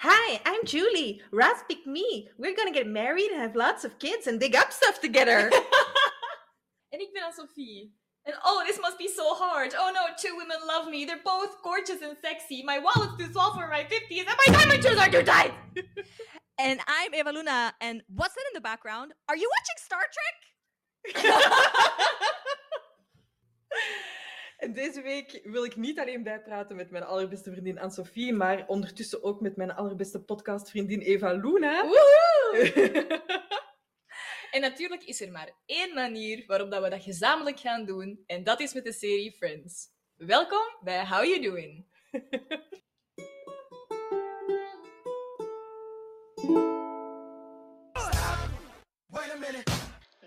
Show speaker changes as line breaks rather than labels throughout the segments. Hi, I'm Julie. Raz picked me. We're gonna get married and have lots of kids and dig up stuff together.
En ik ben Anne-Sophie. And oh, this must be so hard. Oh no, two women love me. They're both gorgeous and sexy. My wallet's too small for my 50s, and my diamond shoes are too tight.
And I'm Eva Luna. And what's that in the background? Are you watching Star Trek?
En deze week wil ik niet alleen bijpraten met mijn allerbeste vriendin Anne-Sophie, maar ondertussen ook met mijn allerbeste podcastvriendin Eva Luna.
En natuurlijk is er maar één manier waarop dat we dat gezamenlijk gaan doen, en dat is met de serie Friends. Welkom bij How You Doing.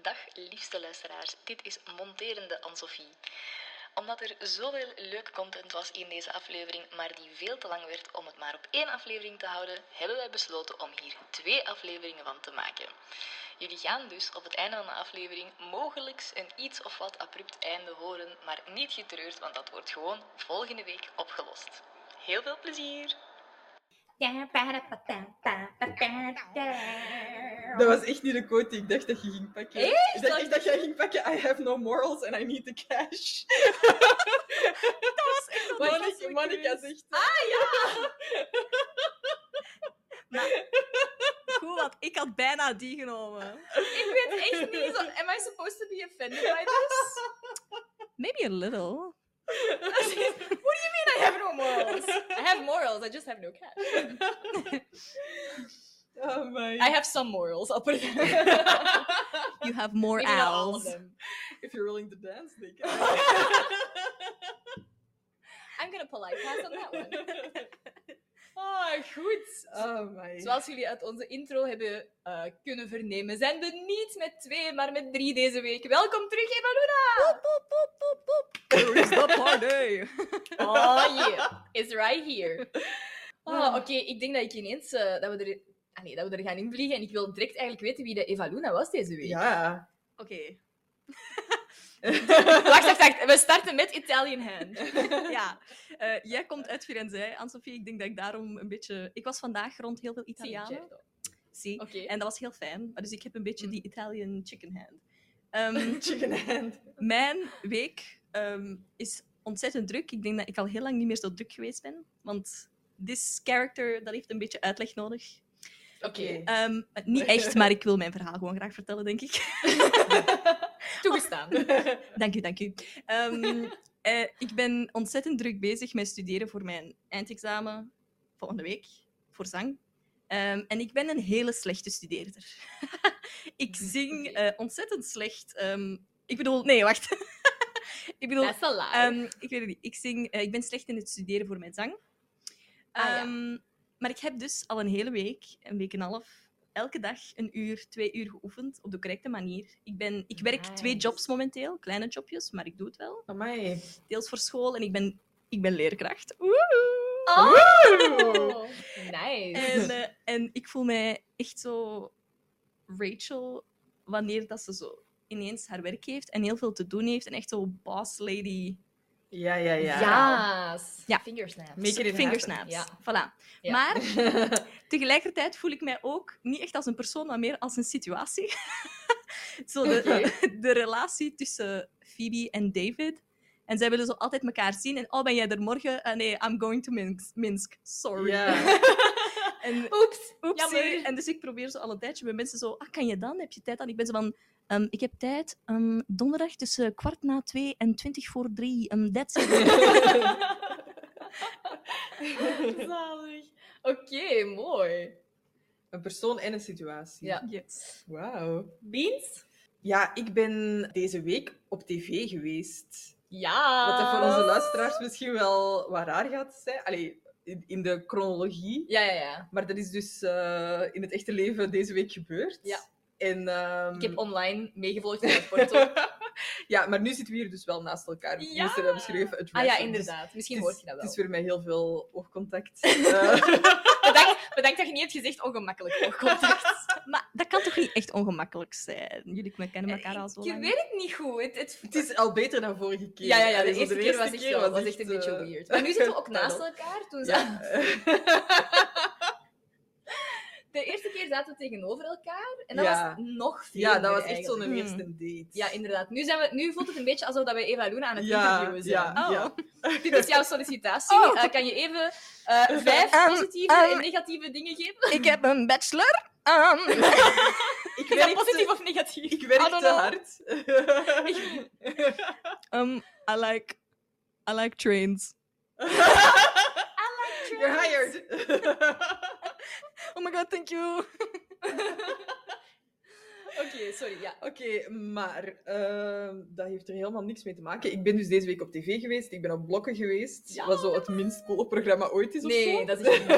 Dag liefste luisteraars, dit is Monterende Anne-Sophie. Omdat er zoveel leuk content was in deze aflevering, maar die veel te lang werd om het maar op één aflevering te houden, hebben wij besloten om hier twee afleveringen van te maken. Jullie gaan dus op het einde van de aflevering mogelijk een iets of wat abrupt einde horen, maar niet getreurd, want dat wordt gewoon volgende week opgelost. Heel veel plezier!
Dat was echt niet de quote die ik dacht dat je ging pakken.
Echt?
Ik dacht echt dat jij ging pakken, I have no morals and I need the cash.
Echt wel
Monica-
heel goed
Monica
geweest.
zegt...
Ah,
Goed, want ik had bijna die genomen.
Ik weet echt niet, zo- am I supposed to be offended by this?
Maybe a little.
What do you mean I have no morals? I have morals, I just have no cash.
Oh my.
I have some morals, I'll put it
You have more
Maybe not all of
owls.
them.
If you're willing to dance, they can.
I'm gonna polite pass on that one. Ah, goed.
Oh my.
Zoals jullie uit onze intro hebben eh, kunnen vernemen, zijn we niet met twee, maar met drie deze week. Welkom terug, Eva Luna!
Where is the party?
Oh yeah, it's right here. Ah, Oké, ik denk dat ik ineens eh, dat, we er, ah, nee, dat we er gaan invliegen en ik wil direct eigenlijk weten wie de Eva Luna was deze week.
Ja.
Oké,
Wacht, wacht, wacht. We starten met Italian Hand.
ja. Eh, jij komt uit Firenze, Anne-Sophie. Ik denk dat ik daarom een beetje... Ik was vandaag rond heel veel Italianen.
Oké.
Zie. En dat was heel fijn. Maar Dus ik heb een beetje die Italian chicken hand. Ehm,
Chicken hand.
mijn week ehm, is ontzettend druk. Ik denk dat ik al heel lang niet meer zo druk geweest ben. Want this character, dat heeft een beetje uitleg nodig.
Oké.
Ehm, niet echt, maar ik wil mijn verhaal gewoon graag vertellen, denk ik.
Toegestaan.
Dank u, dank u. Ehm, eh, ik ben ontzettend druk bezig met studeren voor mijn eindexamen volgende week voor zang. Ehm, en ik ben een hele slechte studeerder. ik zing
Oké.
eh, ontzettend slecht. Ehm, ik bedoel, nee, wacht. ik bedoel,
That's a lie.
ehm, ik weet het niet. Ik, zing, eh, ik ben slecht in het studeren voor mijn zang.
Ah, ja.
Ehm, Maar ik heb dus al een hele week, een week en een half, elke dag een uur, twee uur geoefend op de correcte manier. Ik, ben, ik werk twee
Nice.
jobs momenteel, kleine jobjes, maar ik doe het wel.
Amai.
Deels voor school en ik ben, ik ben leerkracht. Woehoe!
Oh! Nice.
En, eh, en ik voel mij echt zo Rachel wanneer dat ze zo ineens haar werk heeft en heel veel te doen heeft en echt zo boss lady
Ja, ja, ja.
Ja.
Ja.
Fingersnaps.
Make it
Fingersnaps.
Ja.
Voilà.
Ja.
Maar tegelijkertijd voel ik mij ook niet echt als een persoon, maar meer als een situatie. zo de, de relatie tussen Phoebe en David. En zij willen zo altijd elkaar zien. En oh, ben jij er morgen? Ah, nee, I'm going to Minsk. Minsk. Sorry.
Ja.
En,
Oeps.
oepsie.
jammer.
en dus ik probeer zo al een tijdje met mensen zo... Ah, kan je dan? Heb je tijd dan? Ik ben zo van... ehm, ik heb tijd ehm, donderdag tussen kwart na twee en twintig voor drie. Ehm, that's it.
Zalig. Oké, mooi.
Een persoon en een situatie.
Ja.
Yes.
Wauw.
Beans?
Ja, ik ben deze week op tv geweest.
Ja.
Wat dat voor
Ah.
onze luisteraars misschien wel wat raar gaat zijn. Allee, in, in de chronologie.
Ja, ja, ja.
Maar dat is dus eh, in het echte leven deze week gebeurd.
Ja.
En, ehm,
Ik heb online meegevolgd in het Ah porto.
ja, maar nu zitten we hier dus wel naast elkaar.
Ja.
Ja. Moesten dat beschreven? Het
Ah ja,
wrestling. Dus
inderdaad. Misschien
het
hoort
is-
je dat
Het
wel.
is weer met heel veel oogcontact. Eh,
Bedankt, bedankt dat je niet hebt gezegd ongemakkelijk oogcontact.
Maar dat kan toch niet echt ongemakkelijk zijn? Jullie kennen elkaar al zo
Eh, Ik
lang.
weet het niet goed. Het, het-
het is al beter dan vorige keer.
Ja, ja, ja.
Allee,
De
zo
eerste keer was echt, wel- was echt een
eh,
beetje weird. Maar nu zitten we ook naast elkaar. Toen ze...
Ja.
zaten we tegenover elkaar. En dat
Ja.
was nog veel.
Ja, dat was echt zo'n
eigenlijk.
eerste date.
Hmm. Ja, inderdaad. Nu, zijn we, nu voelt het een beetje alsof dat we Eva Luna aan het interviewen zijn.
ja,
Oh.
ja.
Dit is jouw sollicitatie.
Oh.
Eh, kan je even eh, vijf
Ehm,
positieve
ehm,
en negatieve dingen geven?
Ik heb een bachelor. Ehm,
Ik
Is dat
werk
positief
te,
of Ah, negatief?
ik werk
I don't know.
te hard.
um, I like, I like trains.
You're hired.
Oh my god, thank you.
Oké, sorry. Ja.
Oké, maar ehm, dat heeft er helemaal niks mee te maken. Ik ben dus deze week op tv geweest, ik ben op blokken geweest.
Ja,
wat zo het minst coole programma ooit is of zo.
Nee, dat is niet. nee.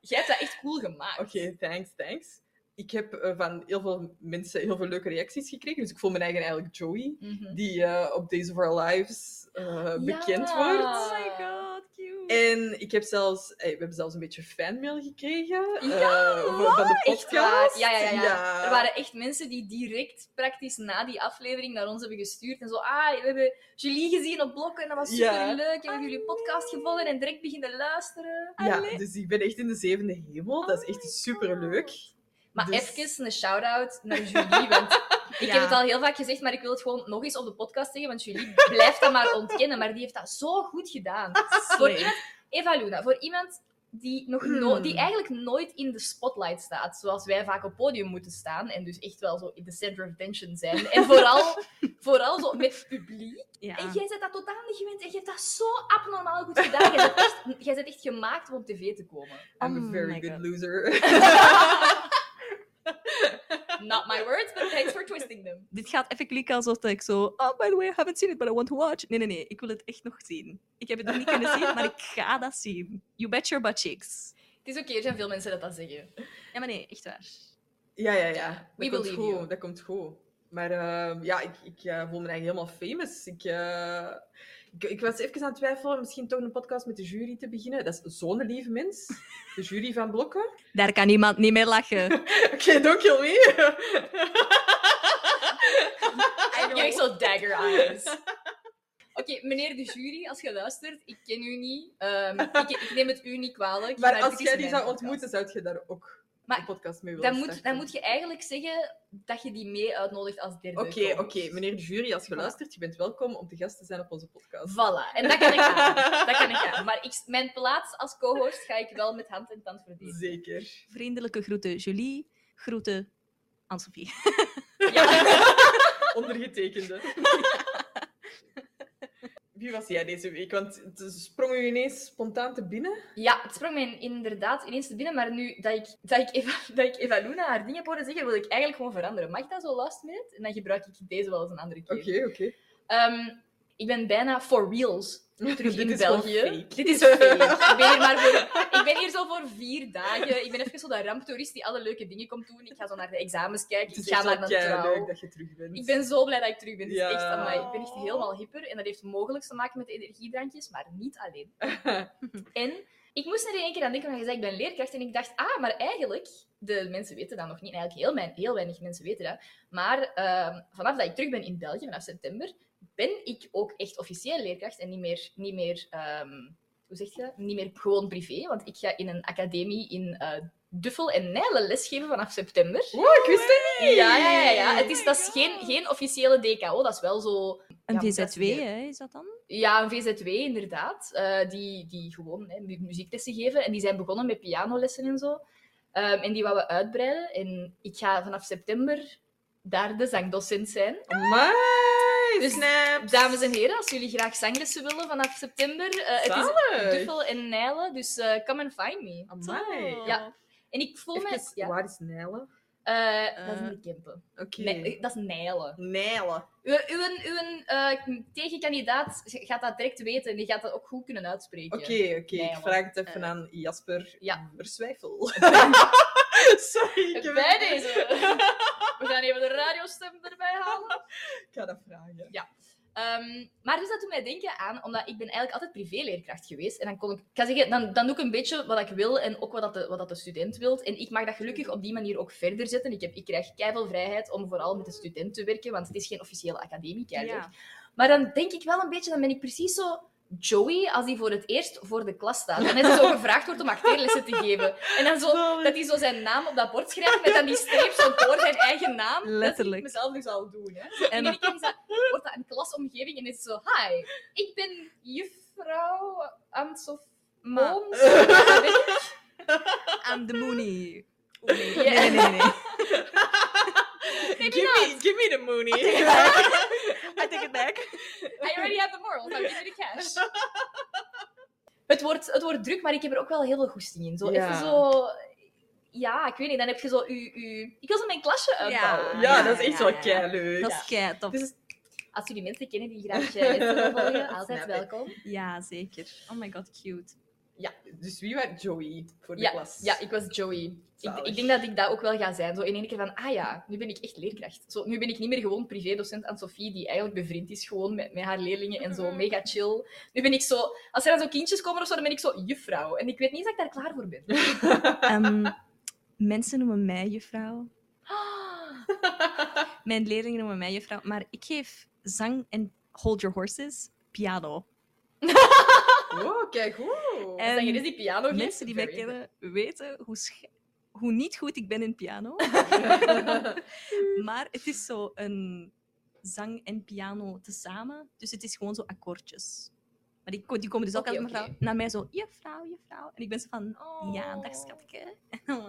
Jij hebt dat echt cool gemaakt.
Oké, thanks, thanks. Ik heb eh, van heel veel mensen heel veel leuke reacties gekregen, dus ik voel me eigen eigenlijk Joey,
Mhm.
die eh, op Days of Our Lives eh, bekend
Ja.
wordt.
Oh my
god, cute.
En ik heb zelfs, eh, we hebben zelfs een beetje fanmail gekregen
Ja,
eh, voor- van de
Echt
podcast.
waar? Ja, ja, ja, ja. Er waren echt mensen die direct praktisch na die aflevering naar ons hebben gestuurd. En zo, ah, we hebben Julie gezien op blokken en dat was
Ja.
super leuk. En we hebben jullie podcast gevonden en direct beginnen luisteren.
Ja,
Allee.
dus ik ben echt in de zevende hemel. dat is echt super leuk.
Oh Maar
Dus-
even een shout-out naar Julie, want ik
Ja.
heb het al heel vaak gezegd, maar ik wil het gewoon nog eens op de podcast zeggen, want Julie blijft dat maar ontkennen, maar die heeft dat zo goed gedaan. Voor iemand, Eva Luna, voor iemand die, nog
Hmm.
no- die eigenlijk nooit in de spotlight staat, zoals wij vaak op podium moeten staan, en dus echt wel zo in de center of attention zijn, en vooral, vooral zo met publiek.
Ja.
En jij zet dat totaal niet gewend, en je hebt dat zo abnormaal goed gedaan. Jij bent echt, jij bent echt gemaakt om op tv te komen.
I'm
Oh
a very
my
good
God.
loser.
Not my words, but thanks for twisting them.
Dit gaat even klikken alsof dat ik zo... Oh, by the way, I haven't seen it, but I want to watch. Nee, nee, nee. Ik wil het echt nog zien. Ik heb het nog niet kunnen zien, maar ik ga dat zien. You bet your butt cheeks.
Het is oké, er zijn veel mensen dat dat zeggen.
Ja, maar nee, echt waar.
ja, ja, ja.
We
Dat komt
believe you.
goed. Dat komt goed. Maar ehm, ja, ik, ik eh, voel me eigenlijk helemaal famous. Ik, eh, ik, ik was even aan het twijfelen om misschien toch een podcast met de jury te beginnen. Dat is zo'n lieve mens. De jury van Blokken.
Daar kan niemand niet meer lachen.
Oké, don't kill me.
Je hebt zo dagger eyes. Oké, meneer de jury, als je luistert, ik ken u niet. Ehm, ik, ik neem het u niet kwalijk.
Maar
dit
als
is
jij die
mijn
zou ontmoeten, zou je daar ook
Maar
een podcast mee willen
Dan moet, dan
starten?
moet je eigenlijk zeggen dat je die mee uitnodigt als derde.
Oké, oké.
co-host.
Meneer de jury, als je luistert, je bent welkom om te gast te zijn op onze podcast.
Voilà, en dat kan ik gaan. Dat kan ik gaan. Maar ik, mijn plaats als co-host ga ik wel met hand en tand verdienen.
Zeker.
Vriendelijke groeten, Julie. Groeten, Anne-Sophie.
Ja.
Ondergetekende. Wie was jij deze week? Want het sprong u ineens spontaan te binnen.
ja, het sprong mij inderdaad ineens te binnen. Maar nu dat ik, dat ik, Eva, dat ik Eva Luna haar dingen heb horen zeggen, wil ik eigenlijk gewoon veranderen. Mag dat zo last minute? En dan gebruik ik deze wel eens een andere keer.
Oké, oké.
Ehm, ik ben bijna for reals terug
Dit
in
is gewoon
België.
fake.
Dit is fake. ik, ben hier maar voor, ik ben hier zo voor vier dagen. Ik ben even zo dat ramptoerist die alle leuke dingen komt doen. Ik ga zo naar de examens kijken. Ik ga naar de
leuk
trouw.
dat je terug bent.
Ik ben zo blij dat ik terug ben. Het is
Ja.
Echt, amai, ik ben echt helemaal hyper. En dat heeft mogelijk te maken met de energiedrankjes, maar niet alleen. En ik moest er in één keer aan denken, want je zei ik ben leerkracht. En ik dacht, ah, maar eigenlijk, de mensen weten dat nog niet. Eigenlijk heel, mijn, heel weinig mensen weten dat. Maar ehm, vanaf dat ik terug ben in België, vanaf september, ben ik ook echt officieel leerkracht. En niet meer, niet meer ehm, hoe zeg je dat? Niet meer gewoon privé. Want ik ga in een academie in eh Duffel en Nijlen lesgeven vanaf september.
Wow, ik wist het
Ja, ja, ja.
Oh
ja. Het is,
my
dat is geen,
God.
geen officiële DKO, dat is wel zo...
Een
Ja, maar dat
VZW,
is-
hè, is dat dan?
Ja, een VZW inderdaad, eh, die, die gewoon hè, mu- muzieklessen geven. En die zijn begonnen met pianolessen en zo. Ehm, en die wou we uitbreiden. En ik ga vanaf september daar de zangdocent zijn.
Amai,
Dus,
snaps.
Dames en heren, als jullie graag zanglessen willen vanaf september, eh, het is
Zalig.
Duffel en Nijlen, dus eh, come and find me.
Amai.
Zo.
Ja. En ik voel me...
Even,
Ja,
Waar is Nijlen?
eh, dat is
Eh,
in de Kempen.
Oké.
Nee, eh, dat is Nijlen.
Nijlen.
Uw, uw, uw eh, tegenkandidaat gaat dat direct weten en die gaat dat ook goed kunnen uitspreken.
Oké, oké. Ik
Nijlen.
vraag het even aan Jasper
Eh, ja.
Verzwijfel. Sorry, ik, heb-
Bij deze. We gaan even de radiostem erbij halen.
ik ga dat vragen.
Ehm, maar dus dat doet mij denken aan, omdat ik ben eigenlijk altijd privéleerkracht geweest. En dan kon ik, ik kan zeggen, dan, dan doe ik een beetje wat ik wil en ook wat, dat de, wat dat de student wil. En ik mag dat gelukkig op die manier ook verder zetten. Ik, heb, ik krijg keiveel vrijheid om vooral met de student te werken, want het is geen officiële academie, keileuk. Maar dan denk ik wel een beetje, dan ben ik precies zo Joey als hij voor het eerst voor de klas staat. En hij zo gevraagd wordt om acteerlessen te geven. En dan zo, dat hij zo zijn naam op dat bord schrijft met dan die streep zo voor zijn eigen naam.
Letterlijk.
Dat zie ik mezelf dus al doen. Hè. En dan wordt dat een klasomgeving en is het zo... Hi, ik ben juffrouw Amtsof Mooms.
I'm the Mooney.
Ja.
Nee, nee, nee. nee.
Maybe
Give
not.
me, give me the Mooney.
I take it back.
I already have the morals, I'm giving the cash. Het wordt, het wordt druk, maar ik heb er ook wel heel veel goesting in. Zo,
Ja.
Even zo... Ja, ik weet niet, dan heb je zo je... je- Ik wil zo mijn klasje uitbouwen.
Ja,
Oh, Ja, dat is echt
ja,
wel
ja.
keileuk.
Dat is kei tof.
Dus-
Als jullie mensen kennen die graag je lessen willen volgen, altijd
Snap ik.
welkom.
Ja, zeker. Oh my god, cute.
Ja, dus wie werd Joey voor de klas?
Ja, ik was Joey. Ik,
Zalig.
ik denk dat ik dat ook wel ga zijn. Zo in één keer van, ah ja, nu ben ik echt leerkracht. Zo, nu ben ik niet meer gewoon privédocent aan Sophie, die eigenlijk bevriend is gewoon met, met haar leerlingen en
Mhm.
zo, mega chill. Nu ben ik zo, als er dan zo kindjes komen of zo, dan ben ik zo juffrouw. En ik weet niet eens dat ik daar klaar voor ben.
Ehm, mensen noemen mij juffrouw. Mijn leerlingen noemen mij juffrouw. Maar ik geef zang en hold your horses piano.
Oh, kijk goed.
En
Dan je dus die piano geeft,
Ehm, mensen die mij
very good.
kennen weten hoe, sch- hoe niet goed ik ben in piano. maar het is zo een zang en piano tezamen. Dus het is gewoon zo akkoordjes. Maar die, ko- die komen dus ook
Oké,
altijd
oké.
mevrouw- naar mij zo, juffrouw, juffrouw. En ik ben zo van,
Oh.
ja, dag schatje.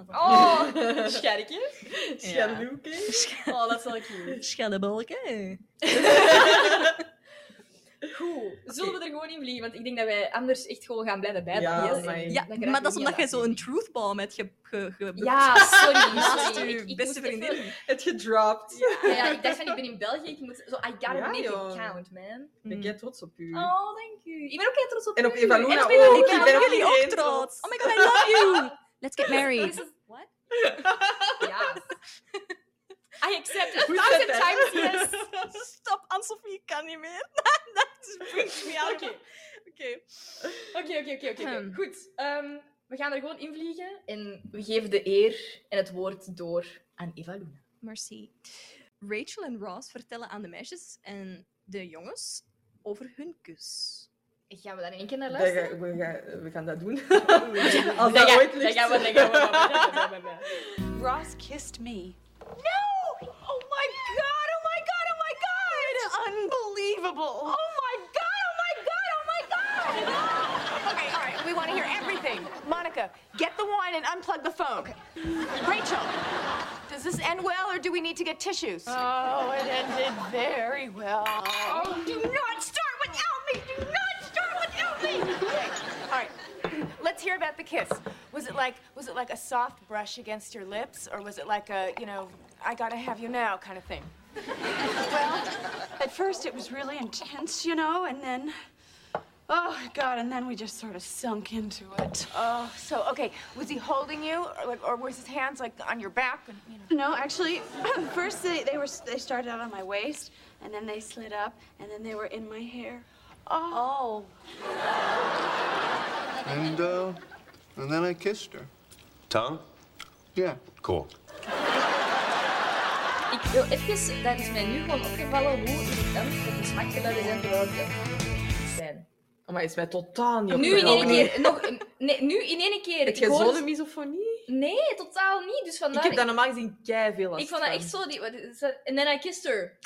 Oh, scherkje.
Schaduwke.
Oh, dat is wel cute.
Schellebalken.
Goed, zullen we er gewoon in vliegen? Want ik denk dat wij anders echt gewoon gaan blijven
Ja,
bijdragen.
amai.
Ja,
Dan krijg
maar dat is
je
omdat jij
niet aan
zo'n truthbomb hebt ge, ge, ge-
Ja, sorry.
naast
sorry.
je
Ik- ik
beste
moest even-
vriendin.
Het gedropt.
Ja, ja, ik dacht van, ik ben in België, ik moet zo, ah, I gotta
Ja,
make
joh.
it count, man.
Ik ben trots op u.
Mm. Oh, dank u. Ik ben ook heel trots op
En op
u.
Eva Luna
En op
ook.
Luna.
Ik
Ik
ben
ben
op
op
jullie ook
iedereen
trots.
trots.
Oh my god, I love you. Let's get
This
married.
is-
What?
Ja. I accept a
Goed
thousand
gezet,
times
hè?
yes.
Stop, Anne-Sophie, ik kan niet meer. Dat brengt me out.
Oké.
Oké.
Oké, oké, oké, oké, oké.
Hmm.
Goed. ehm, we gaan er gewoon invliegen en we geven de eer en het woord door aan Eva Luna.
Merci. Rachel en Ross vertellen aan de meisjes en de jongens over hun kus.
Gaan we daar in één keer naar
Dat
luisteren?
ga- we, gaan, we gaan dat doen.
Oh, Dat
Als dat
ga-
ooit
dat
lukt.
gaan we, dat gaan we, dat gaan we.
Ross kissed me.
No! Oh my god, oh my god, oh my god!
Unbelievable.
Oh my god, oh my god, oh my god!
Okay, all right, we want to hear everything. Monica, get the wine and unplug the phone. Rachel, does this end well or do we need to get tissues? Oh, it ended very well. Oh, do not start without me. Do not start without me. Okay, all right. Let's hear about the kiss. Was it like was it like a soft brush against your lips or was it like a, you know, I got to have you now kind of thing?
Well, at first it was really intense, you know, and then, oh God, and then we just sort of sunk into it.
Oh, so okay, was he holding you or, or was his hands like on your back and, you know?
No, actually, first they, they were they started out on my waist, and then they slid up, and then they were in my hair.
Oh,
And uh, and then I kissed her.
Tongue?
Yeah.
Cool.
Ik wil even, dat is mij nu gewoon opgevallen hoe irritant de smaakgeluiden zijn terwijl ze zijn.
Oh, Maar is mij totaal niet
Nu in
opgevallen.
één keer, nog, nee, nu in één keer.
Heb
ik
jij
hoor-
zo'n misofonie?
Nee, totaal niet. Dus vandaar,
Ik heb daar normaal gezien kei veel last
ik vond dat
van.
echt zo, die, wat is dat? and then I kissed her.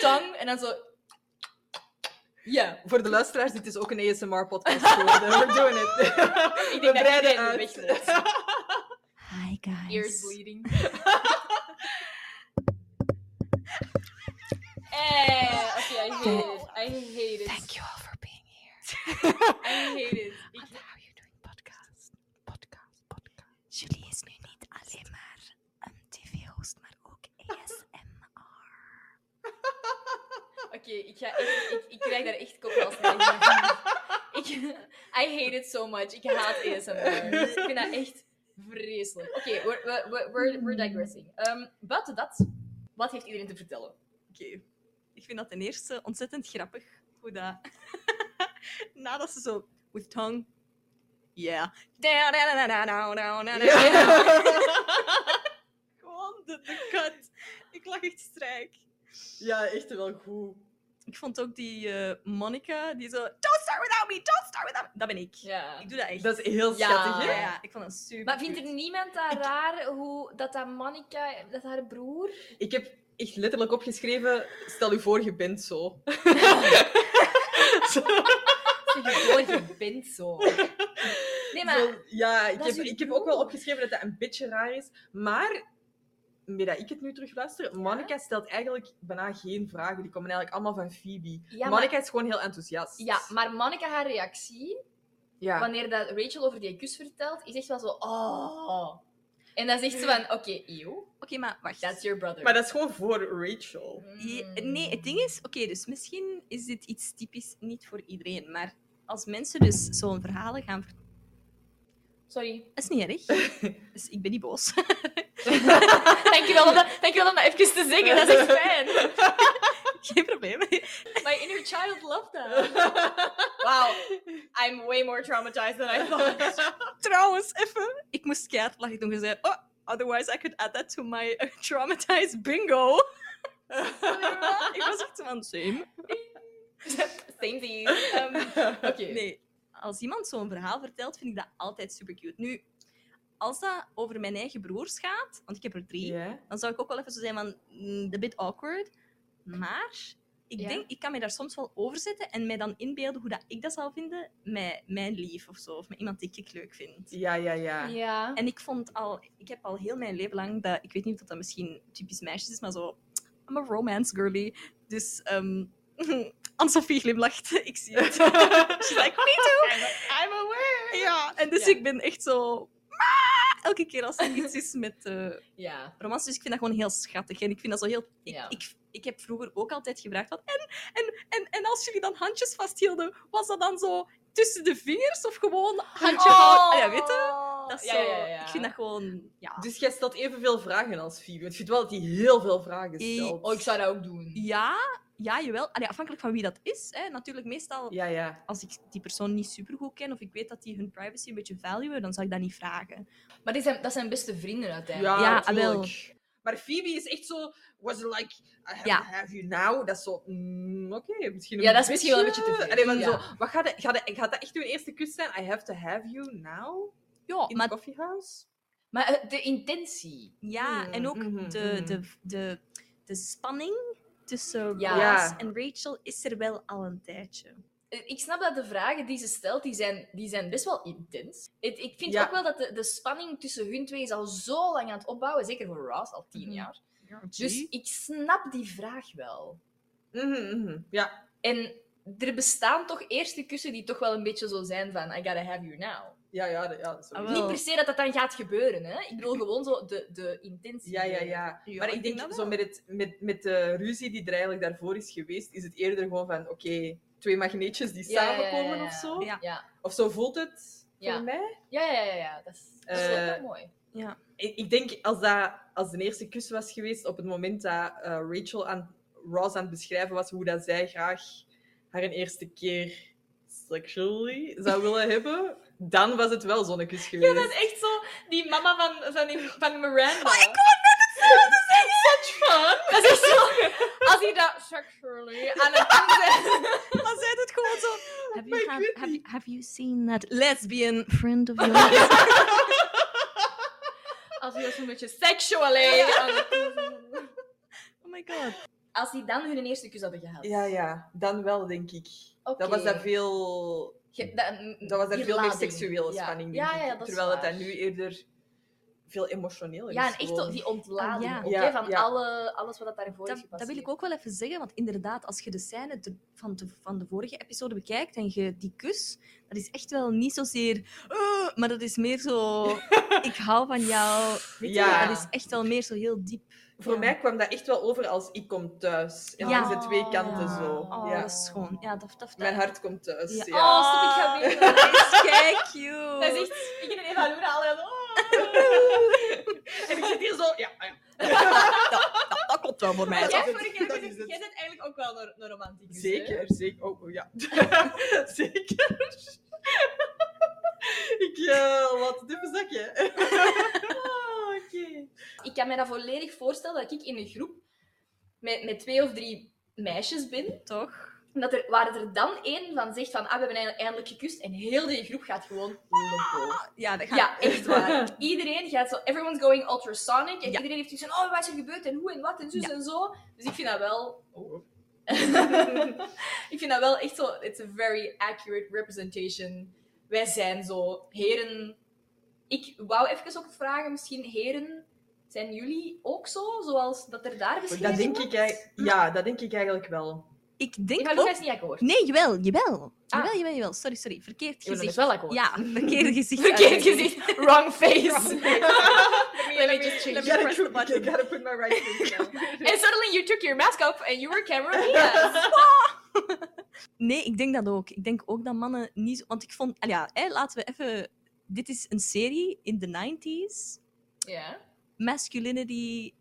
Tong, en dan zo, ja.
Voor de luisteraars, dit is ook een ASMR-podcast geworden. We doen het.
Ik
We
denk dat
breiden
iedereen er
uit.
weg is.
Hi guys.
Ears bleeding. Eh, oké, I hate it. I hate it.
you all for being here.
I hate it. Ik-
How are you doing podcast? Podcast, podcast. Julie is nu niet alleen maar een tv-host, maar ook ASMR.
Oké, ik, ga echt- ik, ik krijg daar echt kopkast van. Ik, I hate it so much. Ik haat ASMR. Ik vind dat echt vreselijk. Oké, we're, we're- we're, we're, we're digressing. Ehm, buiten dat, wat heeft iedereen te vertellen?
Oké. Ik vind dat ten eerste ontzettend grappig. Hoe dat... Nadat ze zo... With tongue... Yeah. Da- da- da- da- da- da- da- da- da- Gewoon de, de cut. Ik lag echt strijk.
Ja, echt wel goed.
Ik vond ook die eh, Monica, die zo... Don't start without me, don't start without me. Dat ben ik.
Ja.
Ik doe dat echt.
Dat is heel
Ja.
schattig, hè?
ja, ja, ik vond dat super
Maar vindt
cute.
er niemand dat raar hoe dat, dat Monica, dat haar broer.
Ik heb echt letterlijk opgeschreven, stel u voor, je bent zo.
Zeg, oh, je bent zo. Nee, maar.
Zo, ja, ik
dat
heb,
is uw
ik heb
broer.
ook wel opgeschreven dat dat een beetje raar is. Maar, met dat ik het nu terug luister, Monica stelt eigenlijk bijna geen vragen. Die komen eigenlijk allemaal van Phoebe.
Ja,
Monica
maar-
is gewoon heel enthousiast.
Ja, maar Monica, haar reactie,
Ja.
wanneer dat Rachel over die kus vertelt, is echt wel zo, oh. En dan zegt ze van, oké, eeuw,
Oké, maar wacht.
that's your brother.
Maar dat is gewoon voor Rachel.
Je-
Mm.
Nee, het ding is, oké, dus misschien is dit iets typisch niet voor iedereen, maar als mensen dus zo'n verhalen gaan vertellen,
Sorry.
is niet erg. Dus ik ben niet boos.
Dankjewel om dat, dankjewel om dat even te zeggen, dat is echt fijn.
Geen probleem.
My inner child loved that. Wow, I'm way more traumatized than I thought.
Trouwens, even, ik moest keihard lachen toen je zei, oh, otherwise I could add that to my eh, traumatized bingo. ik was echt zo van, same.
Same thing.
Um,
Ehm, oké.
Nee, als iemand zo'n verhaal vertelt, vind ik dat altijd super cute. Nu, als dat over mijn eigen broers gaat, want ik heb er drie,
Ja.
dan zou ik ook wel even zo zijn van, mm, a bit awkward. Maar ik
Ja.
denk, ik kan me daar soms wel over zetten en mij dan inbeelden hoe dat ik dat zou vinden met mijn lief of zo, of met iemand die ik leuk vind.
Ja, ja, ja.
Ja.
En ik vond al, ik heb al heel mijn leven lang dat, ik weet niet of dat misschien typisch meisjes is, maar zo, I'm a romance girly. Dus, ehm Anne-Sophie glimlacht, ik zie het. She's like, me too! I'm aware! Ja, en dus
Ja.
ik ben echt zo, "Ah!" elke keer als er iets is met... eh,
Ja.
romans. Dus ik vind dat gewoon heel schattig. En ik vind dat zo heel. Ik,
Ja.
ik, ik heb vroeger ook altijd gevraagd: van, en, en, en, en als jullie dan handjes vasthielden, was dat dan zo tussen de vingers of gewoon handje houden? Ah Ja, weet je? Dat is
Oh. Ja,
zo,
ja, ja, ja.
Ik vind dat gewoon. Ja.
Dus jij stelt evenveel vragen als Phoebe. Want ik vind wel dat hij heel veel vragen
Eh,
stelt.
Oh, ik zou dat ook doen.
ja, ja, jawel. Allee, afhankelijk van wie dat is. Hè. Natuurlijk, meestal
Ja, ja.
als ik die persoon niet super goed ken of ik weet dat die hun privacy een beetje valuen, dan zou ik dat niet vragen.
Maar die zijn, dat zijn beste vrienden uiteindelijk.
Ja,
Ja,
tuurlijk. Maar Phoebe is echt zo... Was it like, I have,
Ja.
have you now? Dat is zo... mm, Oké, misschien een
Ja, dat is misschien wel een beetje te veel,
Allee, maar
ja.
zo, wat gaat, dat, gaat, dat, gaat dat echt uw eerste kus zijn? I have to have you now?
Ja,
In
maar
the coffee house?
Maar eh, de intentie.
Oh Ja, en ook
mhm,
de,
mhm.
de, de, de spanning tussen
Ja.
Ross
Ja.
en Rachel is er wel al een tijdje.
Eh, Ik snap dat de vragen die ze stelt, die zijn, die zijn best wel intens. Het, ik vind
Ja.
ook wel dat de, de spanning tussen hun twee is al zo lang aan het opbouwen. Zeker voor Ross, al tien
Mhm.
jaar. Dus
Dus
ik snap die vraag wel.
Mhm, mhm. Ja,
En er bestaan toch eerste kussen die toch wel een beetje zo zijn van I gotta have you now.
ja, ja. de- ja sorry.
Ah, wel.
Niet per se dat dat dan gaat gebeuren, hè. Ik bedoel gewoon zo de, de intentie.
Ja, ja, ja.
Ja,
maar
ik denk
ik denk,
dat
zo
wel.
met, het, met, met de ruzie die er eigenlijk daarvoor is geweest, is het eerder gewoon van, oké, twee magneetjes die
Ja, ja, ja,
samenkomen
ja,
of
ja.
zo.
Ja.
Ja,
Of zo voelt het
Ja.
voor mij.
ja, ja, ja. ja. Dat is, dat is wel
Eh,
heel mooi.
Ik, ik denk, als dat als de eerste kus was geweest, op het moment dat eh, Rachel aan Ross aan het beschrijven was hoe dat zij graag haar een eerste keer sexually zou willen hebben, dan was het wel zo'n kus geweest.
Dat is echt zo die mama van, van, die- van Miranda. Dat is echt zo. Als hij dat sexually aan het doen bent.
dan zei het gewoon zo. Have you,
ik
have,
weet
have, you, have you seen that lesbian friend of yours?
Als hij dat zo'n beetje sexually aan het doen is.
oh my god.
Als die dan hun eerste kus hadden gehad.
Ja, ja, dan wel, denk ik.
Oké.
Dat was dat veel
Ge- dat,
Dat was
die
er veel meer
lading.
seksuele
Ja.
spanning,
Ja,
denk ik.
ja, dat is
Terwijl het
waar.
dan nu eerder veel emotioneel is.
Oh, Ja, en echt
gewoon.
zo die ontlading
Ah, ja.
ook,
Ja,
hè, van
ja.
alle, alles wat dat daarvoor
Dat,
is
dat wil ik
gepasseerd.
ook wel even zeggen, want inderdaad, als je de scène te- van, de, van de vorige episode bekijkt en je die kus, dat is echt wel niet zozeer. "Eh," maar dat is meer zo. ik hou van jou. Weet je,
Ja.
dat is echt wel meer zo heel diep.
Voor
Ja.
mij kwam dat echt wel over als ik kom thuis. En
Ja.
langs de twee kanten
Ja.
zo.
Oh,
ja.
dat is schoon. Ja, dat, dat, dat.
Mijn hart komt thuis.
Ja.
Ja.
Oh, stop, ik ga
Dat
binnen.
is kei cute.
Dat is echt... Ik en Eva doen alle... Oh.
En ik zit hier zo. Ja, ah ja.
dat komt wel voor
Maar
dat
jij,
is het.
vorige keer,
Dat
jij
is het.
bent eigenlijk ook wel een, een romanticus, hè?
Zeker, zeker. Oh, oh, ja. zeker. ik eh, laat het even zakken. Ah, Oké.
Ik kan me dat volledig voorstellen dat ik in een groep met, met twee of drie meisjes binnen.
Toch?
En Dat er, waar er dan één van zegt van, ah, we hebben eindelijk- eindelijk gekust. En heel die groep gaat gewoon loco.
Ja, dat gaat...
Ja, echt waar. Iedereen gaat zo, everyone's going ultrasonic. En
Ja.
iedereen heeft zoiets van, oh, wat is er gebeurd en hoe en wat en zus
Ja.
en zo. Dus ik vind dat wel... ik vind dat wel echt zo, it's a very accurate representation. Wij zijn zo, heren... Ik wou even ook vragen, misschien heren, zijn jullie ook zo? Zoals dat er daar beschreven
Dat denk
wordt?
ik, ei- ja, dat denk ik eigenlijk wel.
Ik denk
Ik had
ook-
nog eens niet akkoord.
Nee, jawel, jawel.
Ah.
Jawel, jawel, jawel. Sorry, sorry. Verkeerd
Ik ben nog
gezicht.
eens wel akkoord.
Ja, verkeerd gezicht.
Verkeerd gezicht. Wrong face. Let me just change.
You gotta, put- you gotta put my right face down.
And suddenly you took your mask off and you were Cameron Diaz.
Nee, ik denk dat ook. Ik denk ook dat mannen niet... zo- Want ik vond... Al ja, hè, laten we even... Dit is een serie in de 90s.
Ja.
Masculinity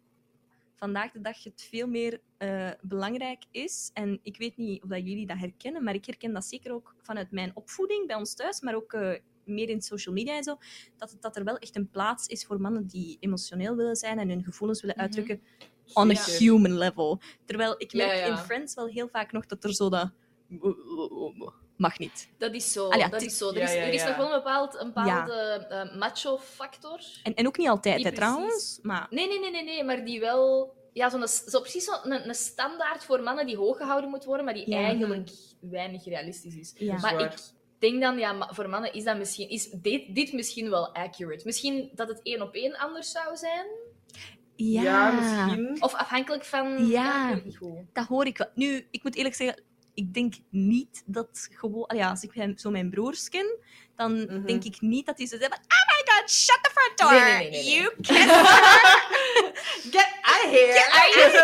vandaag de dag het veel meer eh, belangrijk is. En ik weet niet of dat jullie dat herkennen, maar ik herken dat zeker ook vanuit mijn opvoeding bij ons thuis, maar ook eh, meer in social media en zo, dat, het- dat er wel echt een plaats is voor mannen die emotioneel willen zijn en hun gevoelens willen
Mhm.
uitdrukken on a
Zeker.
human level. Terwijl ik
Ja,
merk
ja.
in Friends wel heel vaak nog dat er zo dat... Mag niet.
Dat is zo.
Allee,
dat
het
is zo. Er
Ja,
is,
ja,
er is
ja.
nog wel een bepaald, een bepaalde eh, macho-factor.
En, en ook niet altijd,
Niet
hè,
precies.
trouwens. Maar
Nee, nee, nee, nee, nee, maar die wel. Ja, zo'n, zo precies zo'n een, een standaard voor mannen die hoog gehouden moet worden, maar die
Ja.
eigenlijk weinig realistisch is.
ja.
Maar
waar.
ik denk dan, ja, ma- voor mannen is, dat misschien, is dit, dit misschien wel accurate. Misschien dat het één op één anders zou zijn.
ja.
misschien.
Of afhankelijk van...
Ja.
ik weet het niet goed.
dat hoor ik wel. Nu, ik moet eerlijk zeggen, ik denk niet dat gewoon... Allee, Ja, als ik hem- zo mijn broers ken, dan
Mhm.
denk ik niet dat die zo zeggen... Oh my god, shut the front door!
Nee, nee, nee, nee, nee.
You
Get out of here!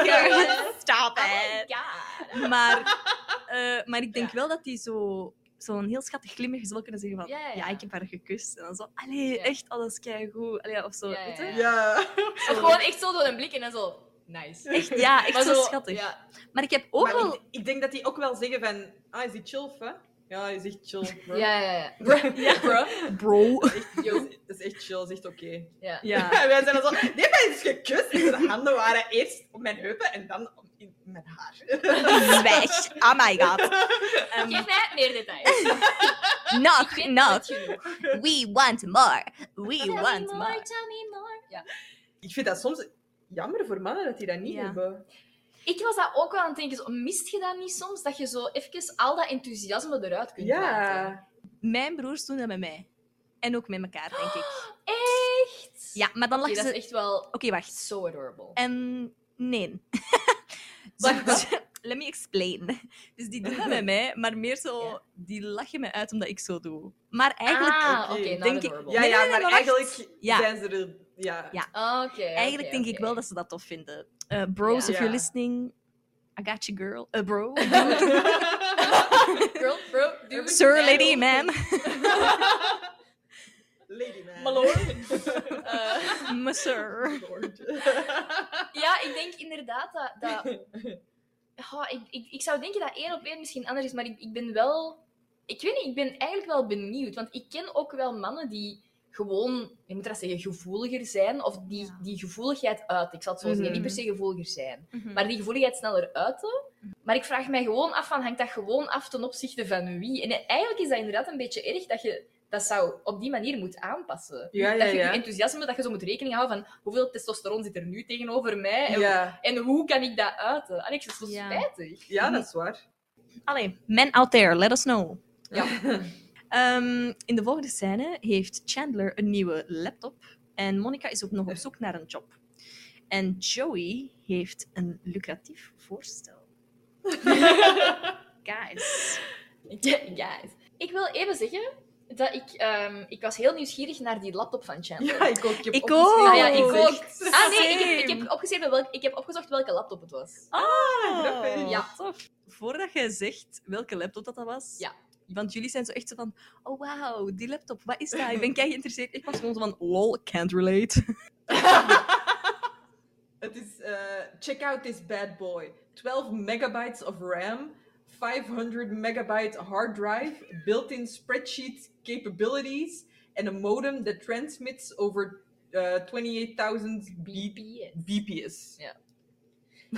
can't stop
Oh my
it!
god.
Maar, eh, maar ik denk wel dat die zo... Zo'n heel schattig glimlachje zal kunnen zeggen van...
Ja,
Ja,
ja, ja.
ik heb haar gekust. En dan zo... Allee,
Ja.
echt, alles keigoed. Allee, of zo,
Ja, ja,
weet je?
ja.
Ja.
Of gewoon echt zo door een blik en dan zo... Nice.
Echt, ja, echt
Maar
zo, schattig.
ja.
Maar ik heb ook
maar
wel...
ik, ik denk dat die ook wel zeggen van... Ah, is die chill, hè? Ja, hij is echt chill, bro.
Ja, ja, ja. Bruh. Bruh.
Bro.
Yo.
Dat is echt chill, dat is echt oké.
Ja.
Ja.
En wij zijn dan zo... Nee, maar hij is gekust. En zijn handen waren eerst op mijn heupen en dan op in mijn haar.
Zwijg. Oh my god. Ehm,
Geef mij meer details. Ik
nog,
vind
nog.
het genoeg.
We want more. We
Tell me
want
more,
more.
tell me more. Ja.
Ik vind dat soms jammer voor mannen dat die dat niet
Ja.
hebben.
Ik was dat ook wel aan het denken. Zo, mist je dat niet soms? Dat je zo even al dat enthousiasme eruit kunt laten.
Ja.
Mijn broers doen dat met mij. En ook met elkaar, denk ik.
Echt?
Ja, maar dan
Oh, Oké,
lachen
dat
ze...
is echt wel
Oké, wacht.
so adorable.
En nee.
Wacht, wat?
Let me explain. Dus die doen dat met mij, maar meer zo...
Ja.
Die lachen me uit omdat ik zo doe. Maar eigenlijk...
ah,
oké,
oké, not
denk ik-
adorable.
Ja,
Nee, nee,
ja,
nee,
maar
maar wacht.
eigenlijk
Ja.
zijn ze er... Ja.
Ja.
Oké.
Eigenlijk denk ik wel dat ze dat tof vinden. Eh, bros,
Ja.
if
Ja.
you're listening... I got you, girl. Eh, bro.
Girl, bro, dude,
Sir,
man,
lady,
oké.
ma'am.
Lady man.
Uh.
Eh,
Monsieur.
Lord.
ja, ik denk inderdaad dat. dat... Goh, ik, ik, ik zou denken dat één op één misschien anders is, maar ik, ik ben wel. Ik weet niet, ik ben eigenlijk wel benieuwd. Want ik ken ook wel mannen die gewoon, je moet dat zeggen, gevoeliger zijn. Of die,
Ja.
die gevoeligheid uiten. Ik zal het zo zeggen, niet per se gevoeliger zijn.
Mhm.
Maar die gevoeligheid sneller uiten. Maar ik vraag mij gewoon af, van, hangt dat gewoon af ten opzichte van wie? En eigenlijk is dat inderdaad een beetje erg dat je dat zou op die manier moet aanpassen.
Ja, ja,
dat je je
Eh, ja.
enthousiasme, dat je zo moet rekening houden van hoeveel testosteron zit er nu tegenover mij en,
Ja.
en hoe kan ik dat uiten? Alex, dat is zo
Ja.
spijtig.
ja, dat is waar.
Allee, men out there, let us know.
Ja.
Ehm, in de volgende scène heeft Chandler een nieuwe laptop en Monica is ook nog op zoek naar een job. En Joey heeft een lucratief voorstel. Guys.
Ja, guys. Ik wil even zeggen dat ik, ehm, ik was heel nieuwsgierig naar die laptop van Chandler.
Ja, ik ook. Ik, heb
Ik ook.
opgeschreven
Ah ja, ik
gezegd.
ook. Ah nee, ik heb, ik
Same.
heb, opgeschreven welk, ik heb opgezocht welke laptop het was.
grappig.
Ja.
tof. Voordat jij zegt welke laptop dat, dat was.
Ja.
Want jullie zijn zo echt zo van, oh wauw, die laptop, wat is dat? Ik ben kei geïnteresseerd. Ik was gewoon zo van, lol, can't relate.
Het is, eh, check out this bad boy. 12 megabytes of RAM, 500 megabyte hard drive, built-in spreadsheet capabilities, and a modem that transmits over eh, 28,000 B-
BPS.
BPS.
Ja.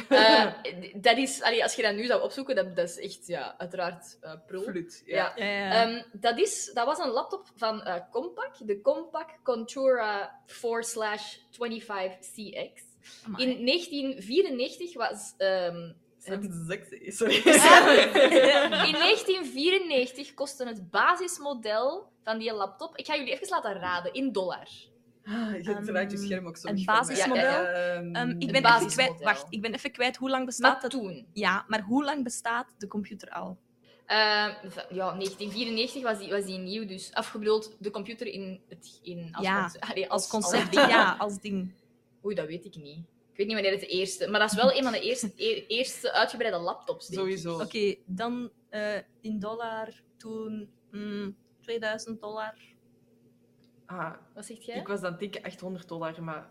Eh, d- dat is, allee, als je dat nu zou opzoeken, dat, dat is echt, ja, uiteraard eh prul.
Flut, ja.
Ja.
Ja, ja.
Ehm, dat, is, dat was een laptop van eh, Compaq, de Compaq Contura 4/25CX.
Amai.
In 1994 was. ehm,
Dat is sexy, sorry.
in 1994 kostte het basismodel van die laptop. Ik ga jullie even laten raden in dollar.
Ah, Je
Ehm,
draait je scherm ook zo
het
weg van mij.
basismodel?
Ja, ja. Ehm,
Ehm, ik
Een
ben even
basismodel.
kwijt. Wacht, ik ben even kwijt hoe lang
Maar
bestaat dat?
toen.
Ja, maar hoe lang bestaat de computer al?
ehm, v- ja, 1994 was die, was die nieuw, dus afgebeeld de computer in, het, in als,
Ja,
concept, allee,
Als concept,
ding.
ja, als ding.
Oei, dat weet ik niet. Ik weet niet wanneer het de eerste, maar dat is wel een van de eerste, e- eerste uitgebreide laptops. denk ik.
Sowieso.
Oké, dan eh, in dollar toen mm, 2000 dollar.
Ah,
Wat zegt jij?
ik was dan tikken 800 dollar, maar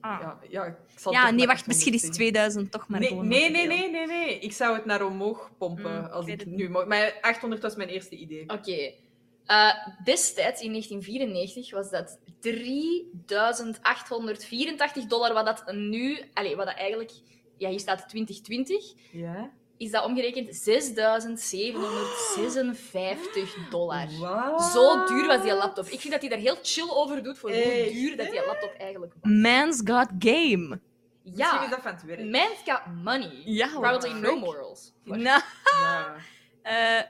Ah.
ja, ja, ik zal
Ja,
toch
nee,
maar
wacht, misschien is
800 zeggen.
2000 toch maar
nee,
gewoon.
nee,
nog
nee,
te veel.
nee, nee, nee. Ik zou het naar omhoog pompen
Mm,
als
ik
ik,
weet het
nu mag. Maar 800 was mijn eerste idee.
Oké. Eh, destijds, in 1994, was dat 3.884 dollar, wat dat nu, allee, wat dat eigenlijk, ja, hier staat 2020,
Ja?
is dat omgerekend 6.756 dollar.
Wow.
Zo duur was die laptop. Ik vind dat hij daar heel chill over doet voor hoe
Echt,
duur dat die laptop eigenlijk was.
Man's got game.
Misschien is
Ja,
dat van het werk.
man's got money.
Ja,
Probably
wow.
no morals.
Nou,
Ja.
eh,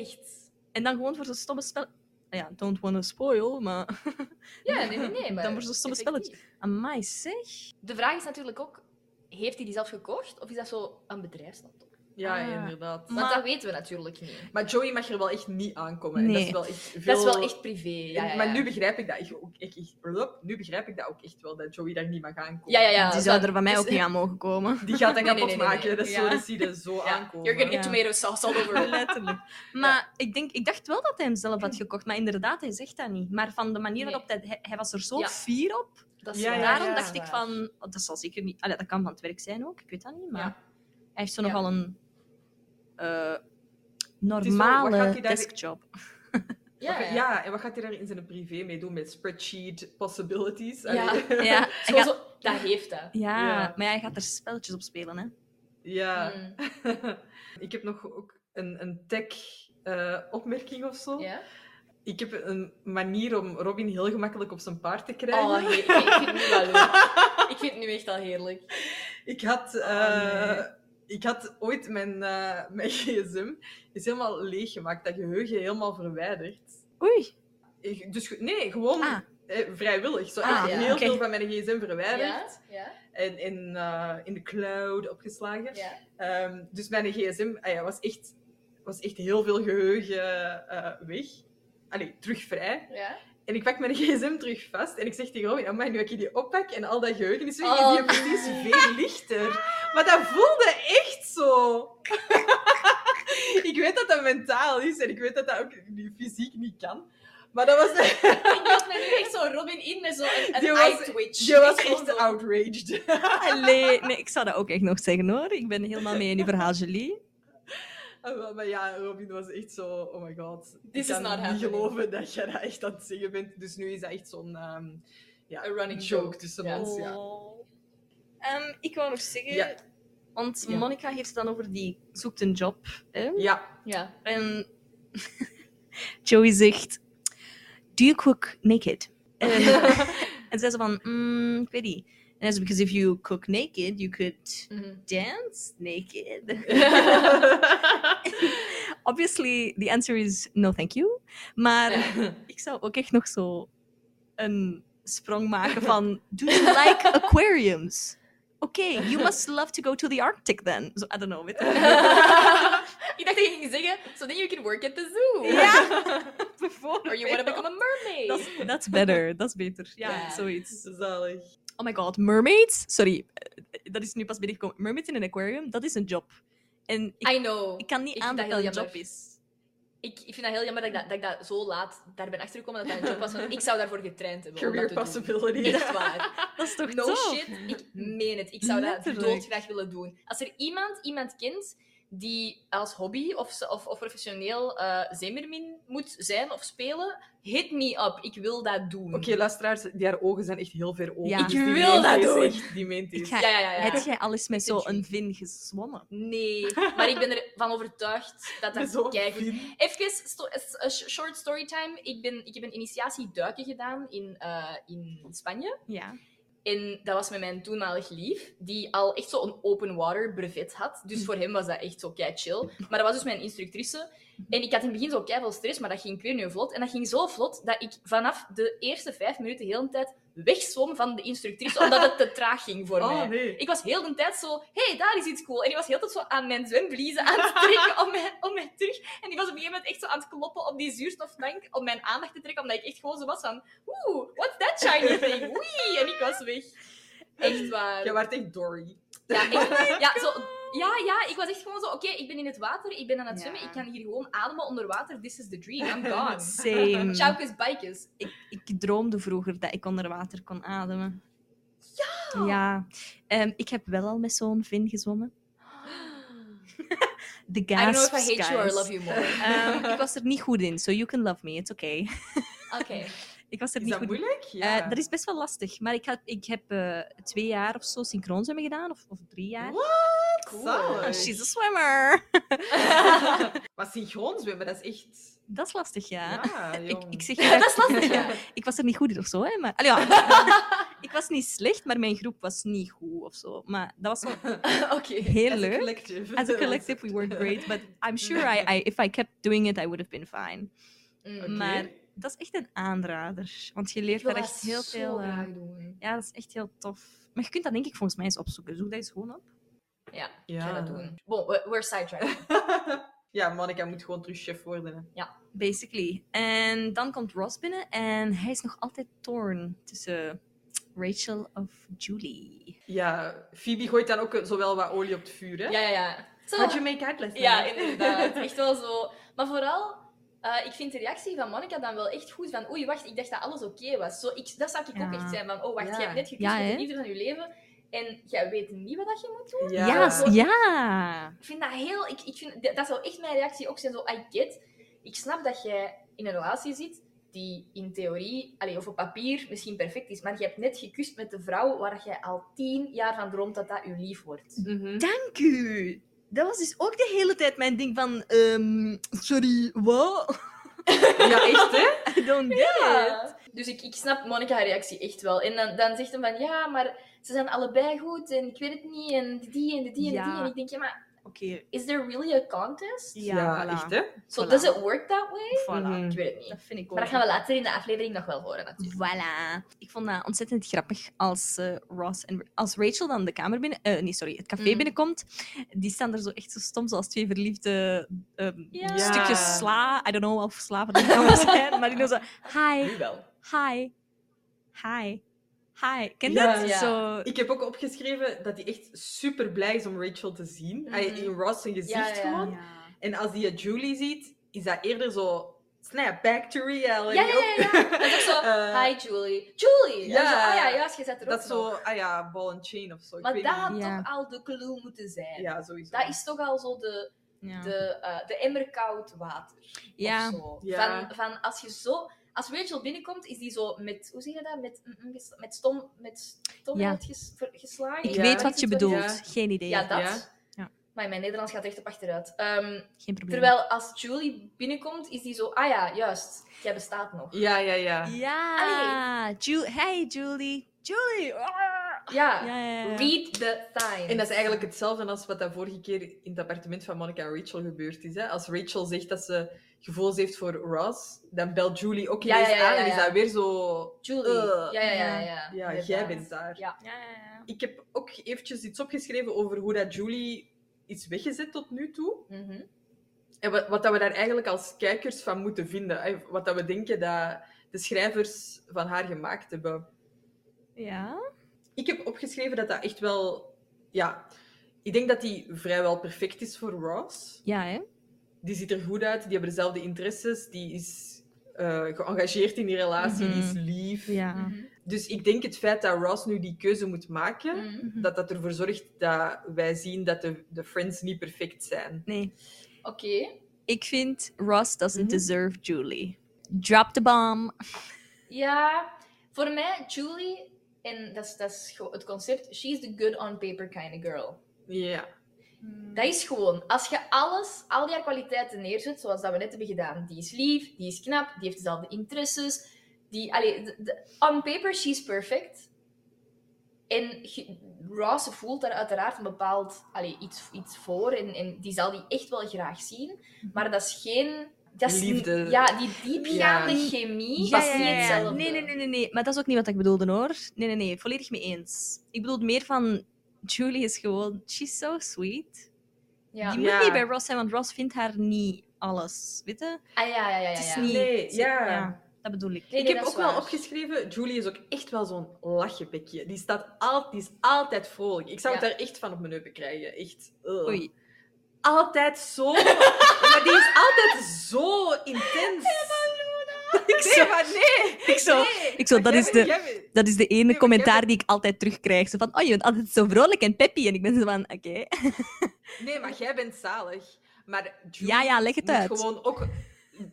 Echt.
en dan gewoon voor zo'n stomme spel. Ah Ja, don't wanna spoil, maar.
Ja, nee, nee, nee. Maar
Dan voor zo'n stomme
effectief.
Amai, zeg.
De vraag is natuurlijk ook, heeft hij die zelf gekocht? Of is dat zo een bedrijfslaptop?
ja,
Ah.
inderdaad.
Want
Maar-
dat weten we natuurlijk niet.
Maar Joey mag er wel echt niet aankomen. En
Nee.
Dat is wel echt veel...
Dat is wel echt privé. Ja, ja, ja.
Maar nu begrijp ik dat echt ook. Ik, ik- blup, nu begrijp ik dat ook echt wel, dat Joey daar niet mag aankomen.
Ja, ja, ja.
Die zou
dat-
er van mij
dus-
ook niet aan mogen komen.
Die gaat dan
Nee,
kapot
nee, nee, nee,
maken.
nee.
Dat is
Ja.
zo, dat zie je zo
Ja.
aankomen.
You're gonna get
Ja.
tomato sauce all over.
Letterlijk. Maar ik, denk, ik dacht wel dat hij hem zelf had gekocht. Maar inderdaad, hij zegt dat niet. Maar van de manier
Nee.
waarop hij... Hij, hij was er zo
Ja.
fier op.
Dat is
Ja, ja,
waar,
Daarom
ja.
dacht ik
waar.
van... oh, dat zal zeker niet... Allee, dat kan van het werk zijn ook. Ik weet dat niet. Maar
Ja.
hij heeft zo
Ja.
nogal een... eh,
wat gaat hij
normale
daar-
deskjob.
Ja,
Wat
ja.
ga- en wat gaat hij daar in zijn privé mee doen? Met spreadsheet possibilities?
Ja.
Allee.
Ja, hij
Zo,
gaat-
zo- dat heeft dat.
ja,
Ja.
maar ja, hij gaat er spelletjes op spelen, hè.
ja.
Mm.
ik heb nog ook een, een tech-opmerking of zo.
Ja?
Ik heb een manier om Robin heel gemakkelijk op zijn paard te krijgen.
Oh, he- ik vind ik vind het nu wel leuk. Ik vind het nu echt al heerlijk.
Ik had, eh, ik had ooit mijn, eh, mijn gsm is helemaal leeggemaakt, dat geheugen helemaal verwijderd.
Oei.
Ik- Dus ge- nee, gewoon
Ah.
eh, vrijwillig. Zo
Ah,
echt
ja.
heel
Oké.
veel van mijn gsm verwijderd.
Ja? Ja?
En in, eh, in de cloud opgeslagen.
Ja?
Ehm, dus mijn gsm ah ja, was, echt, was echt heel veel geheugen eh, weg. Allee, terug vrij.
Ja?
En ik pak mijn gsm terug vast en ik zeg tegen Robin, amai, nu ik je die oppak en al dat geheugen is weg,
Oh,
is die precies veel lichter. Maar dat voelde echt zo. ik weet dat dat mentaal is en ik weet dat dat ook niet- fysiek niet kan. Maar dat was,
Ik beeld me nu echt zo Robin in met zo'n een,
Die
een
was-
eye-twitch.
je was
Ik gewoon zo-
echt outraged.
Allee, nee, ik zou dat ook echt nog zeggen, hoor. Ik ben helemaal mee in uw verhaal, Julie.
Ah, wel, Maar ja, Robin was echt zo, oh my god.
This is
ik kan
not
niet
happening.
geloven dat jij dat echt aan het zeggen bent. Dus nu is dat echt zo'n ehm, ja,
A running joke.
joke tussen
Ja.
ons. Ja.
Oh. Ehm, ik wou nog zeggen,
Ja.
want
Ja.
Monica heeft het dan over die zoekt een job. Hè?
ja,
Ja.
En Joey zegt, do you cook naked? Eh, en zij zo van, mm, ik weet niet. En hij zo, because if you cook naked, you could
Mhm.
dance naked. Obviously, the answer is no thank you. Maar ik zou ook echt nog zo een sprong maken van... Do you like aquariums? Oké, you must love to go to the Arctic then. So, I don't know. weet je.
ik dacht dat je ging zeggen, so then you can work at the zoo. Or you want to become a mermaid.
That's, that's better. Dat is beter. Ja,
Ja.
zoiets.
zalig.
Oh my god, mermaids? Sorry, eh, dat is nu pas binnengekomen. Mermaids in een aquarium, dat is een job. En ik,
I know.
ik kan niet
Ik
aan
vind
dat
dat
dat
heel
een job
jammer.
is.
Ik, ik vind dat heel jammer dat ik dat, dat ik dat zo laat daar ben achtergekomen dat dat een job was. Want ik zou daarvoor getraind hebben. om
Career
dat te doen.
possibilities.
Echt waar.
Dat is toch
No
tof?
shit, ik meen het. Ik zou dat
Letterlijk.
doodgraag willen doen. Als er iemand iemand kent die als hobby of, ze- of, of professioneel eh zeemermin moet zijn of spelen, hit me up. Ik wil dat doen.
Oké, luisteraars, die haar ogen zijn echt heel ver open.
Ja.
dus
Ik
die
wil
meent
dat
deze
doen.
echt- Die meent
Ik
deze.
ga-
Ja, ja, ja. ja.
Heb jij alles met
Vind
zo'n vin gezwommen?
Nee, maar ik ben ervan overtuigd dat
Met zo'n
dat kijk
vin.
Even sto- s- eh, sh- short storytime. Ik, ben, ik heb een initiatie duiken gedaan in, eh, in Spanje.
Ja.
En dat was met mijn toenmalig lief, die al echt zo'n open water brevet had. Dus voor hem was dat echt zo kei chill. Maar dat was dus mijn instructrice. En ik had in het begin zo kei veel stress, maar dat ging weer nu vlot. En dat ging zo vlot dat ik vanaf de eerste vijf minuten heel de tijd wegzwom van de instructrice, omdat het te traag ging voor mij.
Oh nee.
Ik was heel de tijd zo, hey, daar is iets cool. En die was heel de tijd zo aan mijn zwembliezen aan het trekken om mij, om mij terug. En die was op een gegeven moment echt zo aan het kloppen op die zuurstoftank om mijn aandacht te trekken, omdat ik echt gewoon zo was van, oeh, what's that shiny thing? Wee! En ik was weg. Echt waar.
Jij werd echt Dory.
oh
Ja, echt, ja, zo, ja, ja, ik was echt gewoon zo, oké, ik ben in het water, ik ben aan het
Ja.
zwemmen, ik kan hier gewoon ademen onder water. This is the dream, I'm gone.
Same.
Chaukes, bikes.
ik droomde vroeger dat ik onder water kon ademen. Ja! Ja. Ehm, ik heb wel al met zo'n vin gezwommen. The
I
gas Ehm,
don't know if I hate you or love you more.
ik was er niet goed in, so you can love me, it's okay.
Oké.
ik was er
Is
niet
dat
goed in.
moeilijk?
Eh,
Ja.
dat is best wel lastig, maar ik, had, ik heb eh, twee jaar of zo synchroonzwemmen gedaan, of, of drie jaar.
What?
Cool.
Zalig.
Oh, she's a swimmer!
Maar synchroon zwemmen, dat is echt...
Dat is lastig, ja.
Ja,
ik,
jong.
ik zeg je dat is lastig, Ik was er niet goed in of zo, hè, maar... Allee, ja. ik was niet slecht, maar mijn groep was niet goed of zo. Maar dat was wel
Oké.
heel
As a
leuk.
collective.
as a collective we weren't great but i'm sure I, I if i kept doing it i would have been fine
Mm.
Oké.
maar dat is echt een aanrader want je
Ik
leert
wil
daar
dat
echt heel
zo
veel eh,
graag doen.
ja dat is echt heel tof maar je kunt dat denk ik volgens mij eens opzoeken zoek dat eens gewoon op
Ja, ik
Ja.
ga dat doen. Bon, we- we're sidetracked.
ja, Monica moet gewoon terug chef worden. hè.
basically en dan komt Ross binnen en hij is nog altijd torn tussen Rachel of Julie
Ja, Phoebe gooit dan ook eh, zowel wat olie op het vuur, hè?
ja, ja, ja. Zo,
How'd you make out last
ja,
night?
inderdaad. Echt wel zo. Maar vooral, eh, ik vind de reactie van Monica dan wel echt goed. Van, oei, wacht, ik dacht dat alles oké was. Zo, ik, dat zou ik ook
Ja.
echt zijn. Van, oh, wacht,
Ja.
jij hebt net gekust
Ja,
met
hè?
de liefde van je leven. En jij weet niet wat dat je moet doen.
ja
zo-
s- ja
Ik vind dat heel... Ik, ik vind, dat zou echt mijn reactie ook zijn. Zo, I get. Ik snap dat jij in een relatie zit die in theorie, allee, of op papier, misschien perfect is. Maar je hebt net gekust met de vrouw waar jij al tien jaar van droomt dat dat je lief wordt.
dank u dat was dus ook de hele tijd mijn ding van ehm, sorry what
Ja, echt, hè?
I don't get it
Ja. Dus ik, ik snap Monica haar reactie echt wel. En dan, dan zegt hem van ja, maar ze zijn allebei goed en ik weet het niet. En die en die en die.
Ja.
En ik denk, ja, maar
Oké,
is there really a contest?
ja, voilà.
echt, hè?
So
Voilà.
does it work that way?
Voilà.
Mhm.
Ik weet het niet.
Dat vind ik ook.
Maar dat gaan we later in de aflevering nog wel horen natuurlijk.
Voilà. Ik vond dat ontzettend grappig als eh, Ross en als Rachel dan de kamer binnen, eh, nee sorry, het café
Mhm.
binnenkomt. Die staan er zo echt zo stom, zoals twee verliefde ehm,
Ja.
stukjes sla. I don't know of sla van de kamer zijn, maar die doen zo hi,
Nu wel.
hi, hi, hi. Ken je
Ja.
dat?
Ja.
Zo.
Ik heb ook opgeschreven dat hij echt super blij is om Rachel te zien. Hij-
Mhm.
In Ross zijn gezicht
Ja, ja, ja.
gewoon. En als hij eh, Julie ziet, is dat eerder zo... Snap, back to reality.
Ja, ja, ja. ja. Dat is ook zo,
Eh,
hi Julie. Julie!
ja.
Ja, zo, ah ja, juist, je zet er
Dat
ook
is zo,
nog.
ah ja, ball and chain of zo. ik
Maar
weet
dat
niet.
had
Ja.
toch al de clue moeten zijn.
Ja, sowieso.
Dat is toch al zo de,
Ja.
de, eh, de emmer koud water.
Ja.
of zo.
Ja.
Van, van als je zo. Als Rachel binnenkomt, is die zo met. Hoe zeg je dat? Met, mm, mm, ges- met stom. Met stomheid ges- ver- geslagen.
Ik
Ja.
weet
Wat
wat
is
je
het dan?
bedoelt.
Ja.
Geen idee.
Ja, dat.
Ja.
Ja.
Maar mijn Nederlands gaat er echt op achteruit. Ehm,
Geen probleem.
terwijl als Julie binnenkomt, is die zo. Ah ja, juist. Jij bestaat nog.
Ja, ja, ja.
Ja. Ah. Ju- hey Julie. Julie. Ah.
Ja.
Ja, ja, ja.
Read the signs.
En dat is eigenlijk hetzelfde als wat dat vorige keer in het appartement van Monica en Rachel gebeurd is. Hè? Als Rachel zegt dat ze gevoelens heeft voor Ross, dan belt Julie ook
Ja,
ineens
ja, ja,
aan
ja,
en is
ja.
dat weer zo...
Julie.
Eh,
ja, ja, ja, ja.
Ja, jij
inderdaad.
bent daar.
Ja.
Ik heb ook eventjes iets opgeschreven over hoe dat Julie is weggezet tot nu toe.
Mhm.
En wat, wat dat we daar eigenlijk als kijkers van moeten vinden. hè. Wat dat we denken dat de schrijvers van haar gemaakt hebben.
Ja.
Ik heb opgeschreven dat dat echt wel... Ja, ik denk dat die vrijwel perfect is voor Ross.
Ja, hè?
Die ziet er goed uit, die hebben dezelfde interesses, die is eh, geëngageerd in die relatie, die is
Mhm.
lief.
Ja.
Dus ik denk het feit dat Ross nu die keuze moet maken,
Mhm.
dat dat ervoor zorgt dat wij zien dat de, de friends niet perfect zijn.
Nee.
Oké.
Ik vind Ross doesn't
Mhm.
deserve Julie. Drop the bomb.
Ja, voor mij, Julie, en dat is, dat is gewoon het concept, she's the good on paper kind of girl.
Ja.
Dat is gewoon, als je alles, al die haar kwaliteiten neerzet, zoals dat we net hebben gedaan, die is lief, die is knap, die heeft dezelfde interesses, die, allee, de- de- on paper, she's perfect. En je- Ross voelt daar uiteraard een bepaald allee, iets, iets voor en, en die zal die echt wel graag zien, maar dat is geen... Dat is
Liefde.
n- Ja, die diepgaande
Ja.
chemie
Ja,
is
ja,
niet
ja, ja.
hetzelfde.
Nee, nee, nee, nee, nee. Maar dat is ook niet wat ik bedoelde, hoor. Nee, nee, nee. Volledig mee eens. Ik bedoel meer van... Julie is gewoon... She's so sweet.
Ja.
Die moet
Ja.
niet bij Ross zijn, want Ross vindt haar niet alles. Weet je?
Ah ja, ja, ja.
Het
ja,
is
ja.
niet...
Nee, ja.
Dat bedoel ik.
Nee,
ik
nee, dat
heb ook
is
wel
waar.
opgeschreven, Julie is ook echt wel zo'n lachjepekje. Die, staat al, die is altijd vrolijk. Ik zou het
Ja.
daar echt van op mijn neupen krijgen. Echt. Ugh.
Oei.
Altijd zo. maar die is altijd zo intens.
Ik
Nee,
zo...
maar nee.
Ik zo...
nee.
Ik zo dat,
Jij
is
bent-
de,
jij bent-
dat is de ene
maar
commentaar
jij
die ik altijd terugkrijg. Zo van, oh, je bent altijd zo vrolijk en peppy. En ik ben zo van, oké.
Nee, maar jij bent zalig. Maar Julie
Ja, ja, leg het
moet
uit.
gewoon ook...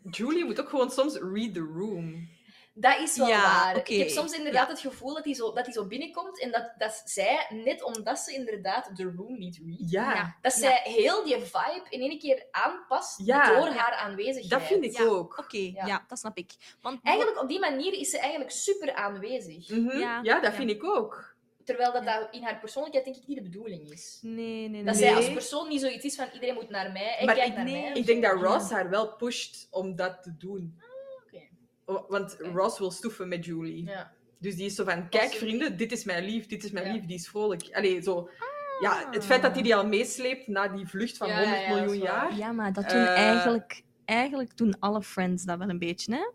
Julie moet ook gewoon soms read the room.
Dat is wel
Ja,
waar.
oké.
Ik heb soms inderdaad het gevoel dat hij zo, dat hij zo binnenkomt en dat, dat zij, net omdat ze inderdaad de room niet read,
Ja,
dat zij heel die vibe in één keer aanpast
Ja.
door haar aanwezigheid.
dat vind ik
Ja.
ook.
Oké,
Ja.
ja. dat snap ik. Want
Eigenlijk op die manier is ze eigenlijk super aanwezig.
Mhm. Ja,
Ja.
dat
Ja.
vind ik ook.
Terwijl dat, dat in haar persoonlijkheid denk ik niet de bedoeling is.
Nee, nee, nee.
Dat
nee.
zij
Nee.
als persoon niet zoiets is van iedereen moet naar mij en
Maar
kijk
ik-
naar
nee,
mij.
Ik denk dat Ross haar wel pusht om dat te doen.
oké.
O- Want
Oké.
Ross wil stoeven met Julie.
Ja.
Dus die is zo van, kijk
ze-
vrienden, dit is mijn lief, dit is mijn
Ja. Ah.
lief, die is vrolijk. Allee, zo... Ja, het feit dat hij die al meesleept na die vlucht van
Ja,
100
ja, dat is
miljoen
waar.
jaar.
Ja, maar dat doen
Eh,
eigenlijk... Eigenlijk doen alle friends dat wel een beetje, hè?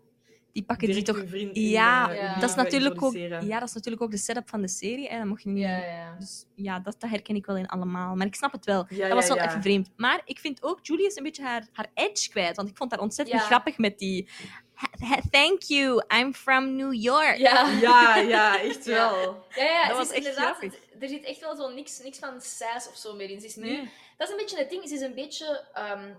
Die pakken
direct
die toch...
hun vriend in,
Ja,
eh, in
Ja.
die
Dat is,
we
natuurlijk ook,
introduceren.
ja, dat is natuurlijk ook de setup van de serie. Hè? Dat mocht je niet...
Ja, ja.
Dus ja, dat, dat herken ik wel in allemaal. Maar ik snap het wel.
Ja,
dat was
ja,
wel
ja.
even vreemd. Maar ik vind ook, Julie is een beetje haar, haar edge kwijt. Want ik vond haar ontzettend
Ja.
grappig met die... "Ha- ha- Thank you, I'm from New York.
Ja.
Ja, ja, echt
Ja.
wel.
Ja, ja,
Dat
ze
was
is
echt
inderdaad,
grappig.
er zit echt wel zo niks, niks van sass of zo meer in. Ze is nu, dat is een beetje het ding, ze is een beetje ehm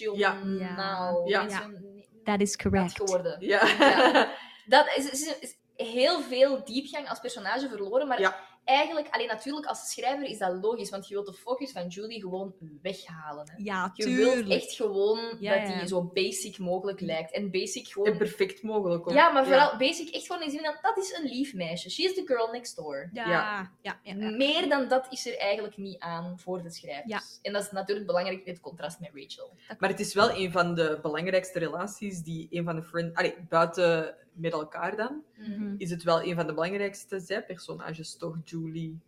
eendimensionaal.
Ja. Ja.
Eendimensionaal
That is correct.
geworden.
Ja.
Ja. Dat is, is, is heel veel diepgang als personage verloren, maar
Ja.
eigenlijk, alleen natuurlijk als schrijver is dat logisch, want je wilt de focus van Julie gewoon weghalen. Hè.
Ja,
Je
tuurlijk.
wilt echt gewoon
Ja,
dat
ja.
die zo basic mogelijk lijkt. En basic
En
gewoon...
perfect mogelijk ook.
Ja, maar vooral basic echt gewoon in zin van, dat is een lief meisje. She is the girl next door.
Ja,
Ja.
ja. ja, ja.
Meer dan dat is er eigenlijk niet aan voor de schrijvers.
Ja.
En dat is natuurlijk belangrijk in het contrast met Rachel.
Maar het is wel een van de belangrijkste relaties die een van de friends... Allee, buiten met elkaar dan,
Mhm.
is het wel een van de belangrijkste zijpersonages, toch, Julie?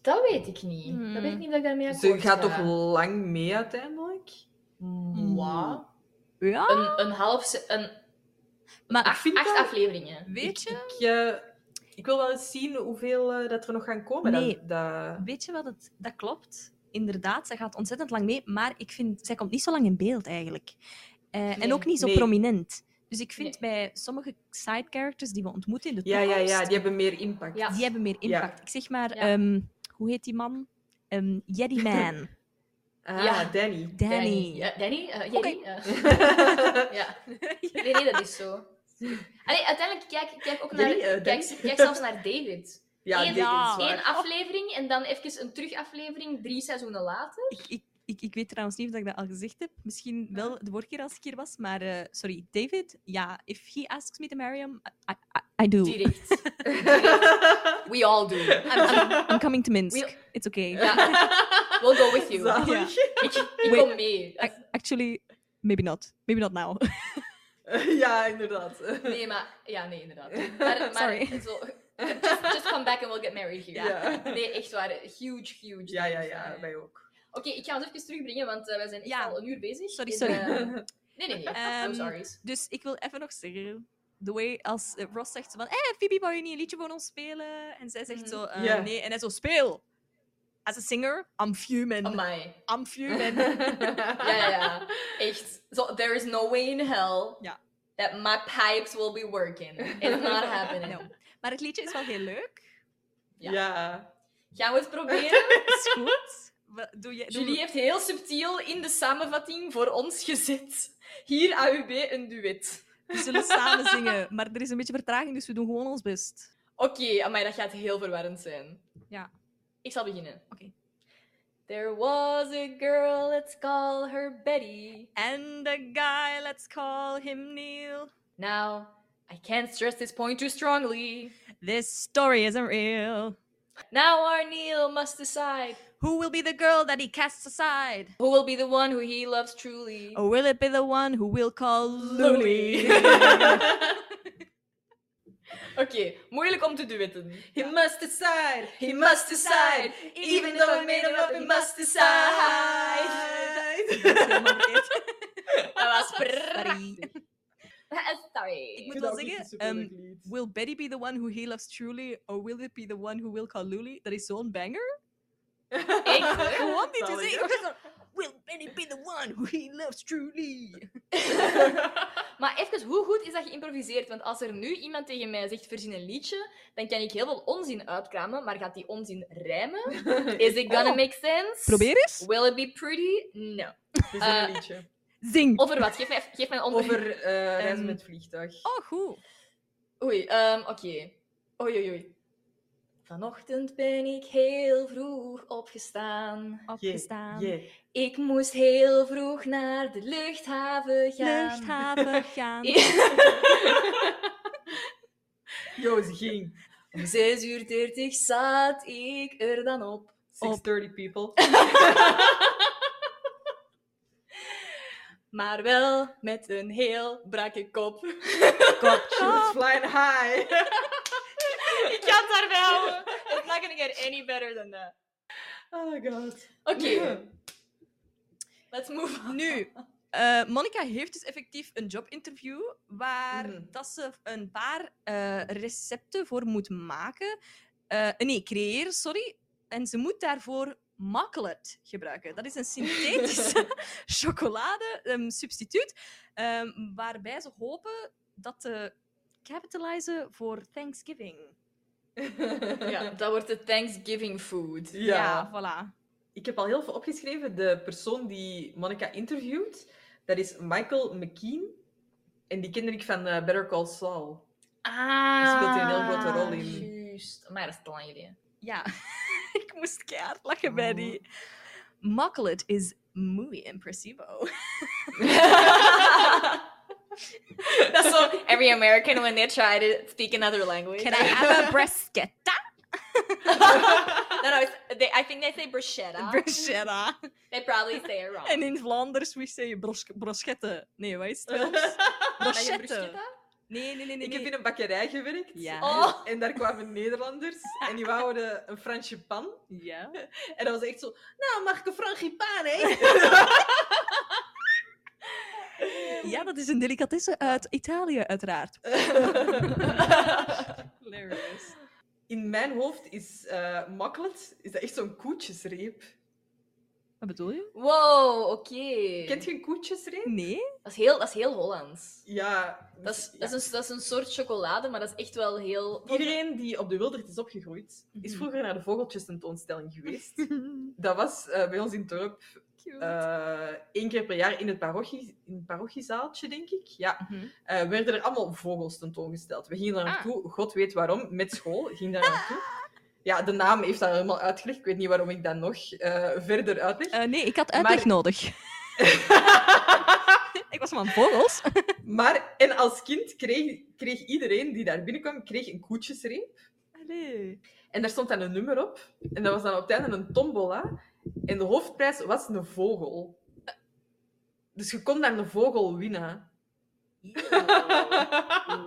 Dat weet ik niet.
Hmm.
Dat weet ik niet dat ik daarmee
Ze
akkoord
Dus gaat
ga.
toch lang mee uiteindelijk?
Mm. Mwah.
Ja,
Een, een half... se- Een,
maar
acht,
vind
acht
dat-
afleveringen.
weet je...
Ik, eh, ik wil wel eens zien hoeveel eh, dat er nog gaan komen.
Nee.
Dat, dat...
Weet je wat? Het, dat klopt. Inderdaad, zij gaat ontzettend lang mee. Maar ik vind, zij komt niet zo lang in beeld eigenlijk. Eh,
Nee.
En ook niet zo
Nee.
prominent. Dus ik vind bij sommige side characters die we ontmoeten in de
Ja,
toekomst,
ja, ja, die hebben meer impact.
Ja.
die hebben meer
Ja.
impact. Ik zeg maar,
Ja.
ehm, hoe heet die man? Ehm Yeti Man.
Ah,
Ja.
Danny.
Danny.
Ja, Danny? eh, Jenny?
Oké.
eh, ja.
Ja.
Nee, nee, dat is zo. Allee, uiteindelijk kijk kijk ook naar...
Danny, eh, Danny.
kijk, kijk zelfs naar David.
Ja,
Eén-
dit is
ja.
waar.
Eén aflevering en dan even een terugaflevering drie seizoenen later.
ik, ik, ik, ik weet trouwens niet of ik dat al gezegd heb. Misschien wel de vorige keer als ik hier was. Maar eh, sorry, David. Ja, if he asks me to marry him, I, I, I do.
Direct. We all do.
I'm, I'm coming to Minsk.
We'll-
It's okay.
Ja. We'll go with you.
Zalig.
Ja.
Ik, ik
Wait.
kom mee.
Ac- Actually, maybe not. Maybe not now.
ja, inderdaad.
Nee, maar... Ja, nee, inderdaad. Maar, maar
Sorry.
Zo, just, just come back and we'll get married here.
Ja.
Nee, eh, echt waar. Huge, huge.
Ja, ja,
things.
ja, wij ook.
Oké, ik ga ons even terugbrengen, want eh, wij zijn echt
Ja.
al een uur bezig.
Sorry,
En,
sorry.
eh, nee, nee, nee. I'm
Ehm,
sorry.
Dus ik wil even nog zeggen. De way als eh, Ross zegt zo van, eh Phoebe, wou je niet een liedje voor ons spelen? En zij zegt
Mhm.
zo, eh,
Ja.
nee. En hij zo, speel! as a singer, I'm fuming.
Amai.
I'm fuming.
Ja, ja, ja. Echt. So, there is no way in hell
Ja.
that my pipes will be working. It's not happening.
No. Maar het liedje is wel heel leuk.
Ja.
Ja.
Gaan we het proberen?
Is goed. We- Doe je, doe-
Julie heeft heel subtiel in de samenvatting voor ons gezet. Hier AUB een duet.
We zullen samen zingen, maar er is een beetje vertraging, dus we doen gewoon ons best.
Oké, maar dat gaat heel verwarrend zijn.
Ja.
Ik zal beginnen.
Oké.
There was a girl, let's call her Betty.
And the guy, let's call him Neil.
Now, I can't stress this point too strongly.
This story isn't real.
Now our Neil must decide
Who will be the girl that he casts aside?
who will be the one who he loves truly.
Or will it be the one who we'll call Luli?
Oké, moeilijk om te duetten.
He must decide.
He must decide, even though I made him up, he must decide. Dat was prrrr.
Sorry.
Sorry.
moet wel zeggen, ehm, Will Betty be the one who he loves truly? Or will it be the one who will call Luli? Dat is zo'n banger.
Echt, hè?
Gewoon dit
Zalig,
is
hè?
echt- ik was zo, Will Betty be the one who he loves truly?
Maar even, hoe goed is dat geïmproviseerd? Want als er nu iemand tegen mij zegt, verzin een liedje, dan kan ik heel veel onzin uitkramen, maar gaat die onzin rijmen? Is it gonna
Oh.
make sense?
Probeer eens.
Will it be pretty? No.
Het is een
eh,
liedje.
Zing.
Over wat? Geef mij, geef mij een onder...
Over eh, reizen
ehm,
met vliegtuig.
Oh, goed.
Oei, ehm, oké. Oei, oei, oei. Vanochtend ben ik heel vroeg opgestaan.
Opgestaan.
Yeah, yeah.
Ik moest heel vroeg naar de luchthaven gaan.
Luchthaven gaan.
Yo, ze ging.
Om 6 uur 30 zat ik er dan op.
630 people.
Maar wel met een heel brakke kop.
She was flying high.
ik kan het daarbij houden. It's not gonna get any better than that.
Oh god.
Oké,
Ja.
let's move on.
Nu, eh Monica heeft dus effectief een jobinterview waar
Mm.
Mhm.
dat ze een paar eh, recepten voor moet maken. Eh, nee, creëren, sorry. En ze moet daarvoor makkelet gebruiken. Dat is een synthetische chocolade-substituut, ehm, waarbij ze hopen dat te capitalizen voor Thanksgiving.
Ja, dat wordt de Thanksgiving food.
ja.
voilà.
Ik heb al heel veel opgeschreven. De persoon die Monica interviewt, dat is Michael McKean. En die kende ik van eh, Better Call Saul.
Ah.
Daar speelt hij een heel grote rol in.
Juist. Maar dat is te lang geleden.
Ja, ik moest keihard lachen bij die. Makkelet is muy impressivo.
dat is zo, every American when they try to speak another language.
Can I have a bruschetta?
no, no, it's, they, I think they say bruschetta.
Bruschetta.
they probably say it wrong.
En in Vlaanders, we zeggen bros broschette. Nee, wat is het Vlaams?
Maar je
Broschette. Nee, nee, nee, nee.
Ik heb
nee.
in een bakkerij gewerkt.
Ja.
Oh.
En daar kwamen Nederlanders. En die wouden een Fransje pan.
Ja.
En dat was echt zo... Nou, mag ik een Fransje pan, hè?
ja, dat is een delicatesse uit Italië, uiteraard.
Oh,
Hilarious.
In mijn hoofd is eh makkelet is dat echt zo'n koetjesreep.
Wat bedoel je?
Wow, oké.
Kent je een koetjesreep?
Nee?
Dat is heel, dat is heel Hollands.
Ja.
Dat is,
ja.
dat, is een, dat is een soort chocolade, maar dat is echt wel heel...
Iedereen die op de Wildert is opgegroeid,
Mhm.
is vroeger naar de vogeltjes-tentoonstelling geweest. Dat was eh, bij ons in het dorp eh, één keer per jaar in het, parochie, in het parochiezaaltje, denk ik. Ja,
Mhm.
eh, werden er allemaal vogels tentoongesteld. We gingen daar
Ah.
naartoe, god weet waarom, met school ging daar naartoe. Ja, de naam heeft dat helemaal uitgelegd. Ik weet niet waarom ik dat nog eh, verder uitleg.
Eh, nee, ik had uitleg
Maar-
nodig. ik was maar vogels.
Maar, en als kind kreeg, kreeg iedereen die daar binnenkwam, kreeg een koetjesreep.
Allee.
En daar stond dan een nummer op. En dat was dan op het einde een tombola. En de hoofdprijs was een vogel. Dus je kon daar een vogel winnen.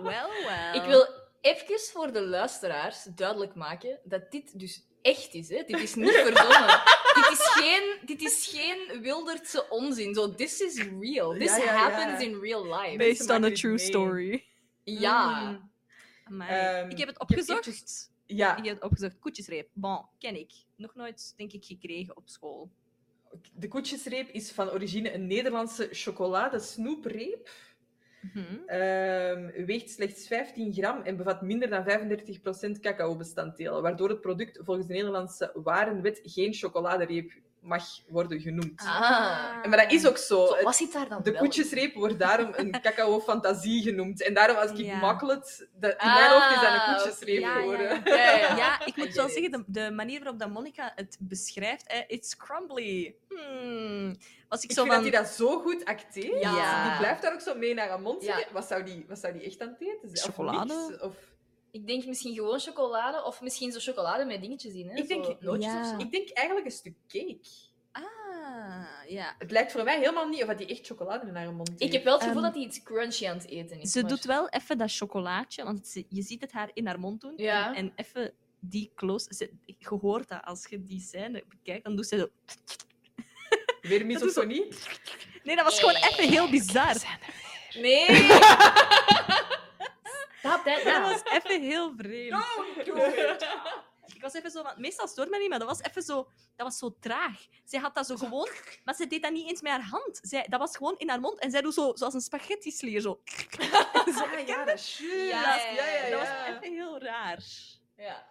Wel, wel.
Ik wil even voor de luisteraars duidelijk maken dat dit dus echt is. Hè? Dit is niet verzonnen. dit, is geen, dit is geen wildertse onzin. Zo, this is real. This
Ja, ja, ja.
happens in real life.
Mensen
Based on a
maken dit
true
mee.
story.
Ja.
Mm.
Amai.
Ehm,
ik heb het
ik heb
opgezocht.
eventjes- Ja,
Ik heb opgezocht, koetjesreep. Bon, ken ik. Nog nooit, denk ik, gekregen op school.
de koetjesreep is van origine een Nederlandse chocoladesnoepreep.
Mhm.
Ehm, weegt slechts 15 gram en bevat minder dan 35% cacao-bestanddelen, waardoor het product volgens de Nederlandse warenwet geen chocoladereep mag worden genoemd.
Ah.
En Maar dat is ook zo.
Zo,
Het-
was het daar dan
De
wel?
koetjesreep wordt daarom een cacao-fantasie genoemd. En daarom, als ik
Ja.
makkelet, dat, in
Ah,
mijn hoofd is dat een koetjesreep
ja, ja,
geworden.
ja.
Ja, ja, ja.
Eh, Ja, ik moet wel zeggen, de, de manier waarop dat Monica het beschrijft, eh, it's crumbly. Hmm. Was ik,
Ik
zo
vind
van...
dat hij dat zo goed acteert.
Ja.
Die blijft daar ook zo mee naar aan mond
Ja.
zitten. Wat, zou die, wat zou die echt aan het eten zijn? Of
Chocolade?
mix, Of...
Ik denk misschien gewoon chocolade of misschien zo chocolade met dingetjes in. Hè?
Ik denk-
Zo nootjes
ja.
of zo.
Ik denk eigenlijk een stuk cake.
Ah, ja.
Het lijkt voor mij helemaal niet of dat die echt chocolade in haar mond heeft.
Ik heb wel het gevoel
Ehm,
dat hij iets crunchy aan het eten is.
Ze
maar-
doet wel even dat chocolaatje, want ze- je ziet het haar in haar mond doen.
Ja.
En even die close... Ze, je hoort dat als je die scène bekijkt, dan doet ze zo...
Weer
dat is zo-
misofonie.
Nee, dat was gewoon even heel bizar.
Nee! Stop that
Dat
now.
was even heel vreemd.
Do it.
Ik was even zo, want meestal stoort mij niet, maar dat was even zo, dat was zo traag. Zij had dat zo gewoon, maar ze deed dat niet eens met haar hand. Zij, dat was gewoon in haar mond en zij doet zo, zoals een spaghetti slier. Zo.
Ja, Ah, ja, dat is juist.
Ja,
Ja, ja, ja.
Dat was even heel raar.
Ja.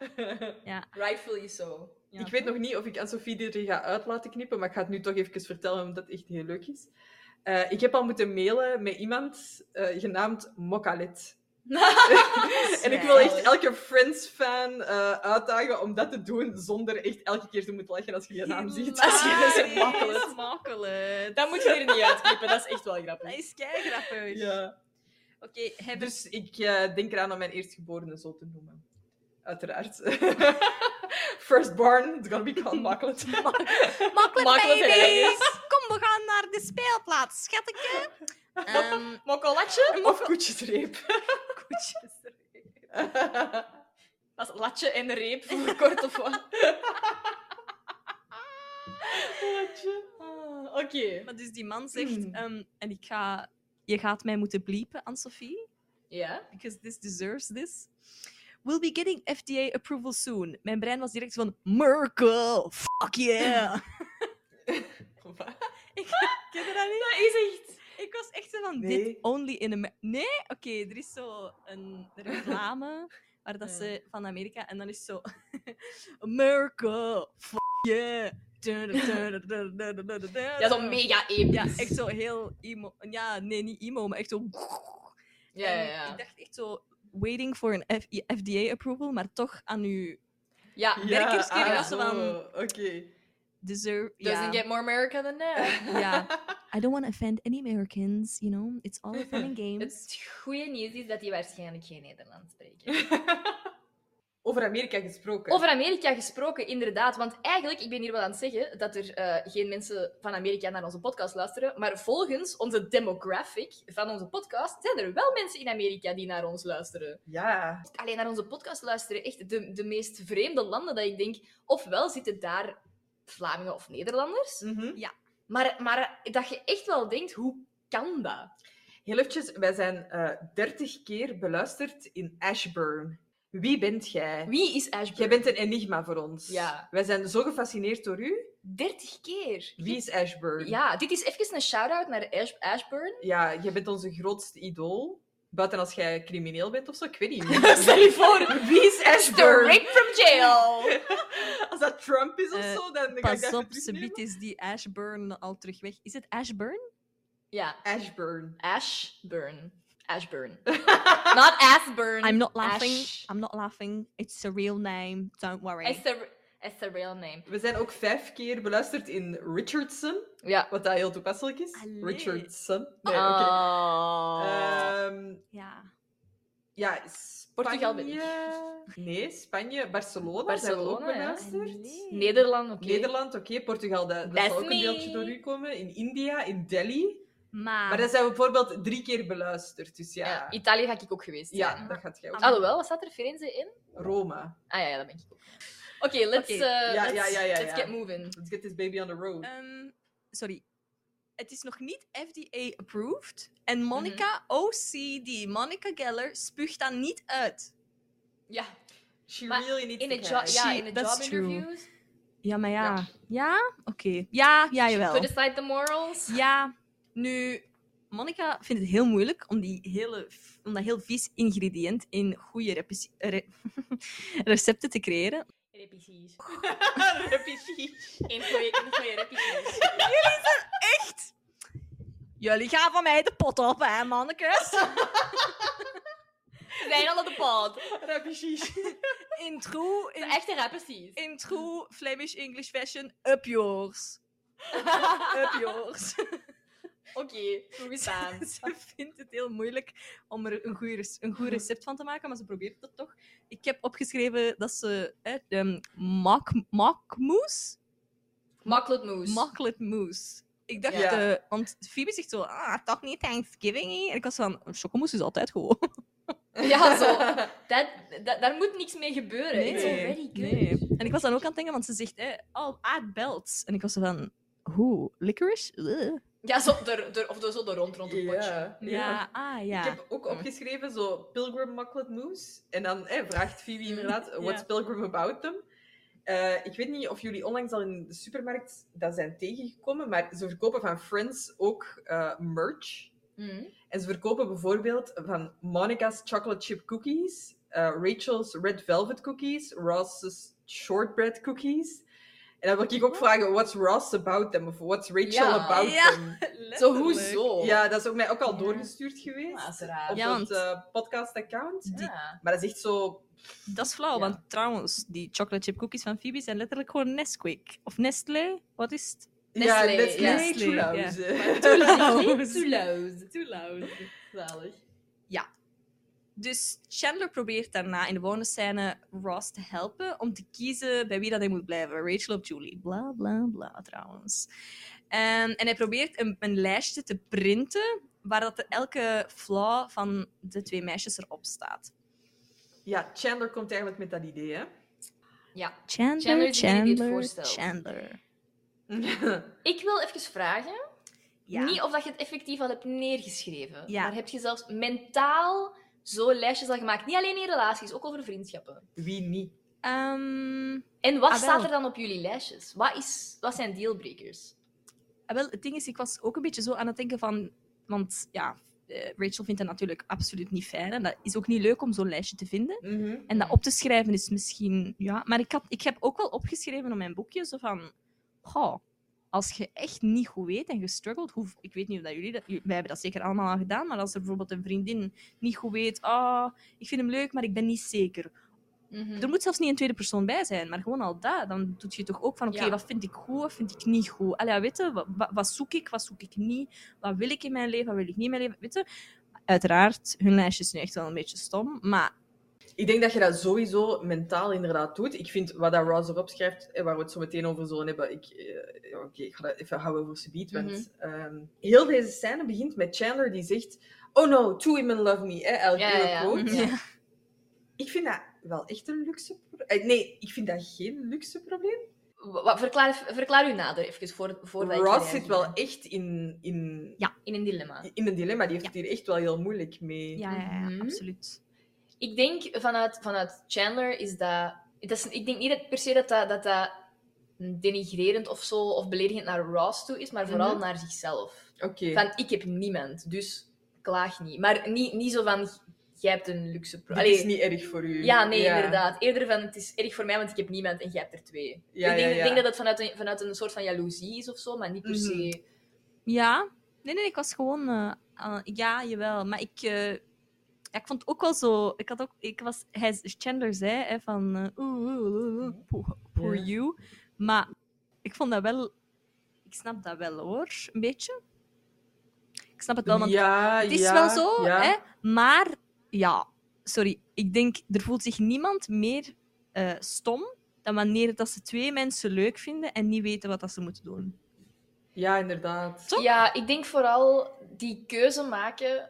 Ja.
Rightfully so.
Ja,
Ik weet
toch?
nog niet of ik aan Sophie dit er ga uit laten knippen, maar ik ga het nu toch even vertellen, omdat het echt heel leuk is. Eh, ik heb al moeten mailen met iemand eh, genaamd Mokalet. en ik wil echt elke Friends-fan eh, uitdagen om dat te doen, zonder echt elke keer te moeten lachen als je je naam ziet.
Als je
Hilarisch.
ze makkelijk.
Makkelijk.
Dat moet je er niet uitknippen, dat is echt wel grappig.
Dat is kei grappig.
Ja.
Oké, hebben...
Dus ik eh, denk eraan om mijn eerstgeborene zo te noemen. Uiteraard. Firstborn, it's gonna be called Mokalet.
Makkelijk,
Makkelijk,
baby's! Kom, we gaan naar de speelplaats, schatteke. Ehm
Mokkolatje?
of koetjesreep.
koetjes.
Dat is latje en reep, voor kort of wat? latje. Ah, Oké.
Maar dus die man zegt, ehm, en ik ga, je gaat mij moeten bliepen, Anne-Sophie,
Ja.
because this deserves this. We'll be getting FDA approval soon. Mijn brein was direct van, Merkel, fuck yeah. Ken je dat niet?
Dat is echt...
Ik was echt zo van,
Nee.
dit only in Amerika. Nee? Oké, er is zo een reclame waar dat ze van Amerika, en dan is zo, Merkel, fuck yeah.
Ja, zo mega episch.
Ja, echt zo heel emo. Ja, nee, niet emo, maar echt zo.
Ja, ja,
En
ja.
Ik dacht echt zo, waiting for een F- FDA approval, maar toch aan u
Ja.
werkerskering
ah,
was zo van
Oké.
deserve.
Doesn't
Ja,
dus get more America than that.
ja. I don't want to offend any Americans, you know. It's all fun and games.
Het goede nieuws is dat die waarschijnlijk geen Nederlands spreken.
Over Amerika gesproken.
Over Amerika gesproken, inderdaad. Want eigenlijk, ik ben hier wel aan het zeggen dat er eh, geen mensen van Amerika naar onze podcast luisteren. Maar volgens onze demographic van onze podcast zijn er wel mensen in Amerika die naar ons luisteren.
Ja.
Alleen naar onze podcast luisteren, echt de, de meest vreemde landen dat ik denk. Ofwel zitten daar Vlamingen of Nederlanders.
Mhm.
Maar, maar dat je echt wel denkt, hoe kan dat?
Heel eventjes, wij zijn eh, dertig keer beluisterd in Ashburn. Wie bent jij?
Wie is Ashburn?
Jij bent een enigma voor ons.
Ja.
Wij zijn zo gefascineerd door u.
30 keer.
Wie is Ashburn?
Ja, dit is even een shout-out naar Ash- Ashburn.
Ja, jij bent onze grootste idool. Buiten als jij crimineel bent of zo, ik weet niet.
Stel je voor,
Wie is Ashburn?
straight from jail.
Als dat Trump is of
Eh,
zo, dan ga ik
Pas
dat
op,
even
ze
terugnemen.
biedt is die Ashburn al terug weg. Is het Ashburn?
Ja,
Ashburn.
Ashburn. Ashburn. Not Ashburn.
I'm not laughing.
Ash.
I'm not laughing. It's a real name. Don't worry.
It's the, it's the real name.
We zijn ook vijf keer beluisterd in Richardson,
Ja.
wat dat heel toepasselijk is.
Allee.
Richardson.
Oh.
Nee, oké. Ehm,
Ja.
ja,
Portugal
Spanje...
ben
Nee, Spanje, Barcelona, zijn we ook
Barcelona, ja.
beluisterd.
Allee.
Eh, Nederland, oké.
Nederland, oké. Portugal, dat, dat
That's
zal ook een
me.
deeltje door u komen. In India, in Delhi.
Maar,
Maar dan zijn we bijvoorbeeld drie keer beluisterd. Dus ja,
Ja, eh,
ja,
Italië ga ik ook geweest zijn.
dat gaat jij ook.
Alhoewel, wat staat er Firenze in?
Rome.
Ah ja, ja dat ben ik ook. Oké, let's,
Oké.
eh,
ja,
let's,
ja, ja, ja,
let's
ja.
get moving.
Let's get this baby on the road.
Eh,
Ehm, sorry. Het is nog niet FDA approved. En Mhm. Monica OCD, Monica Geller, spuugt dat niet uit.
Ja.
She
Maar
really needs
In
to
een job,
cash.
ja,
She-
in een
that's
job
true.
interviews.
Ja, maar ja.
Ja.
Ja? Oké. Ja, ja,
Could
jawel.
decide the morals.
Ja, nu... Monica vindt het heel moeilijk om, die hele, om dat heel vies ingrediënt in goede repes- re- recepten te creëren.
Repetities. Info je repetities.
Echt? Jullie gaan van mij de pot op, hè, mannekes?
We zijn al op de pad.
In
De
true, in,
echte repetities.
in true Flemish-English fashion, up yours. up yours.
Oké, toegestaan.
ze vindt het heel moeilijk om er een, goeie rec- een goed recept van te maken, maar ze probeert het toch. Ik heb opgeschreven dat ze eh, de mak, makmoes?
Makkelmoes.
Maklet moes. Ik dacht,
Ja.
eh, want Phoebe zegt zo, ah, toch niet Thanksgiving En ik was van, chocomousse is altijd gewoon.
Ja, zo. Dat, dat, daar moet niks mee gebeuren. It's already good.
nee. En ik was dan ook aan het denken, want ze zegt, eh, oh, add belts. En ik was zo van, hoe? Licorice? Ugh.
Ja, zo de, de, of de, zo de rond rond het potje.
Ja,
Ja, ah, ja.
Ik heb ook opgeschreven zo Pilgrim Mucklet Moose. En dan eh, vraagt Phoebe inderdaad, what's Pilgrim about them? Eh, ik weet niet of jullie onlangs al in de supermarkt dat zijn tegengekomen, maar ze verkopen van Friends ook eh, merch.
Mm.
En ze verkopen bijvoorbeeld van Monica's Chocolate Chip Cookies, eh, Rachel's Red Velvet Cookies, Ross's Shortbread Cookies. En dan wil ik ook vragen, what's Ross about them? Of what's Rachel
Ja. Oh.
about
Ja.
them?
Zo, hoezo?
Ja, dat is ook mij ook al doorgestuurd
Ah,
geweest.
is raar.
Op
Ja, want-
dat eh, podcast-account.
Ja.
Maar dat is echt zo...
Dat is flauw,
Ja.
want trouwens, die chocolate chip cookies van Phoebe zijn letterlijk gewoon Nesquik. Of Nestlé, wat is het?
Nestlé,
ja, Nestlé,
ja.
Nestlé, Chulaus, eh.
Too
Too loud.
Too loud.
Zalig.
Dus Chandler probeert daarna in de volgende scène Ross te helpen om te kiezen bij wie dat hij moet blijven. Rachel of Julie. Bla, bla, bla, trouwens. Ehm, en hij probeert een, een lijstje te printen waar dat de- elke flaw van de twee meisjes erop staat.
Ja, Chandler komt eigenlijk met dat idee, hè.
Ja.
Chandler,
Chandler
Chandler,
is degene die het
Chandler,
voorstelt. Mhm.
ja,
Ik wil even vragen,
Ja.
niet of dat je het effectief al hebt neergeschreven,
Ja.
maar heb je zelfs mentaal zo'n lijstjes al gemaakt? Niet alleen in relaties, ook over vriendschappen.
wie niet?
Ehm,
En wat
Ah, wel.
staat er dan op jullie lijstjes? Wat, is, wat zijn dealbreakers?
Ah, wel, het ding is, ik was ook een beetje zo aan het denken van... Want ja, eh, Rachel vindt dat natuurlijk absoluut niet fijn. En dat is ook niet leuk om zo'n lijstje te vinden.
Mhm.
En dat op te schrijven is misschien... Ja, maar ik, had, ik heb ook wel opgeschreven op mijn boekje, zo van... Goh, als je echt niet goed weet en gestruggeld... Hoe, ik weet niet of dat jullie dat... Wij hebben dat zeker allemaal al gedaan. Maar als er bijvoorbeeld een vriendin niet goed weet... Ah, ik vind hem leuk, maar ik ben niet zeker.
Mhm.
Er moet zelfs niet een tweede persoon bij zijn, maar gewoon al dat. Dan doet je toch ook van, oké,
Ja.
wat vind ik goed, wat vind ik niet goed. Allee, ja, weet je, wa- wa- wat, zoek ik, wat zoek ik niet, wat wil ik in mijn leven, wat wil ik niet in mijn leven, weet je. Uiteraard, hun lijstje is nu echt wel een beetje stom, maar
Ik denk dat je dat sowieso mentaal inderdaad doet. Ik vind wat dat Rouse erop schrijft, en waar we het zo meteen over zullen hebben, ik, eh, ja, oké, ik ga dat even houden voor subiet, want
Mhm.
ehm, heel deze scène begint met Chandler die zegt, oh no, two women love me, hè, elke
Ja, ja, ja.
quote.
Ja.
Ik vind dat wel echt een luxe probleem. Nee, ik vind dat geen luxe probleem.
Wa- wa- verklaar, verklaar u nader even, voor, voordat ik
Ross
eruit
zit
ben.
wel echt in, in,
in een dilemma.
in een dilemma. Die heeft het hier echt wel heel moeilijk mee.
ja, ja, ja,
Mhm.
absoluut.
Ik denk vanuit, vanuit Chandler is dat, dat is, Ik denk niet dat per se dat dat, dat dat denigrerend of zo, of beledigend naar Ross toe is, maar vooral
Mhm.
naar zichzelf.
Oké.
Van, ik heb niemand, dus klaag niet. Maar niet, niet zo van, jij hebt een luxe... pro-
Dit
Allee,
is niet erg voor u.
Ja, nee, inderdaad. Eerder van, het is erg voor mij, want ik heb niemand en jij hebt er twee.
Ja,
ik denk,
ja, Mhm.
ik
ja.
denk dat dat vanuit een, vanuit een soort van jaloezie is of zo, maar niet per se...
Ja, nee, nee, ik was gewoon... eh, aan- ja, jawel, maar ik... eh, ja, ik vond het ook wel zo... Ik had ook... Ik was, hij, Chandler zei hè, van... eh, oeh, oeh, oeh, oeh, poor, poor
Ja.
you. Maar ik vond dat wel... Ik snap dat wel, hoor. Een beetje. Ik snap het wel, want
ja,
het is
ja,
wel zo,
ja.
hè? Maar ja, sorry. Ik denk, er voelt zich niemand meer eh, stom dan wanneer dat ze twee mensen leuk vinden en niet weten wat dat ze moeten doen.
Ja, inderdaad.
Toch?
Ja, ik denk vooral die keuze maken.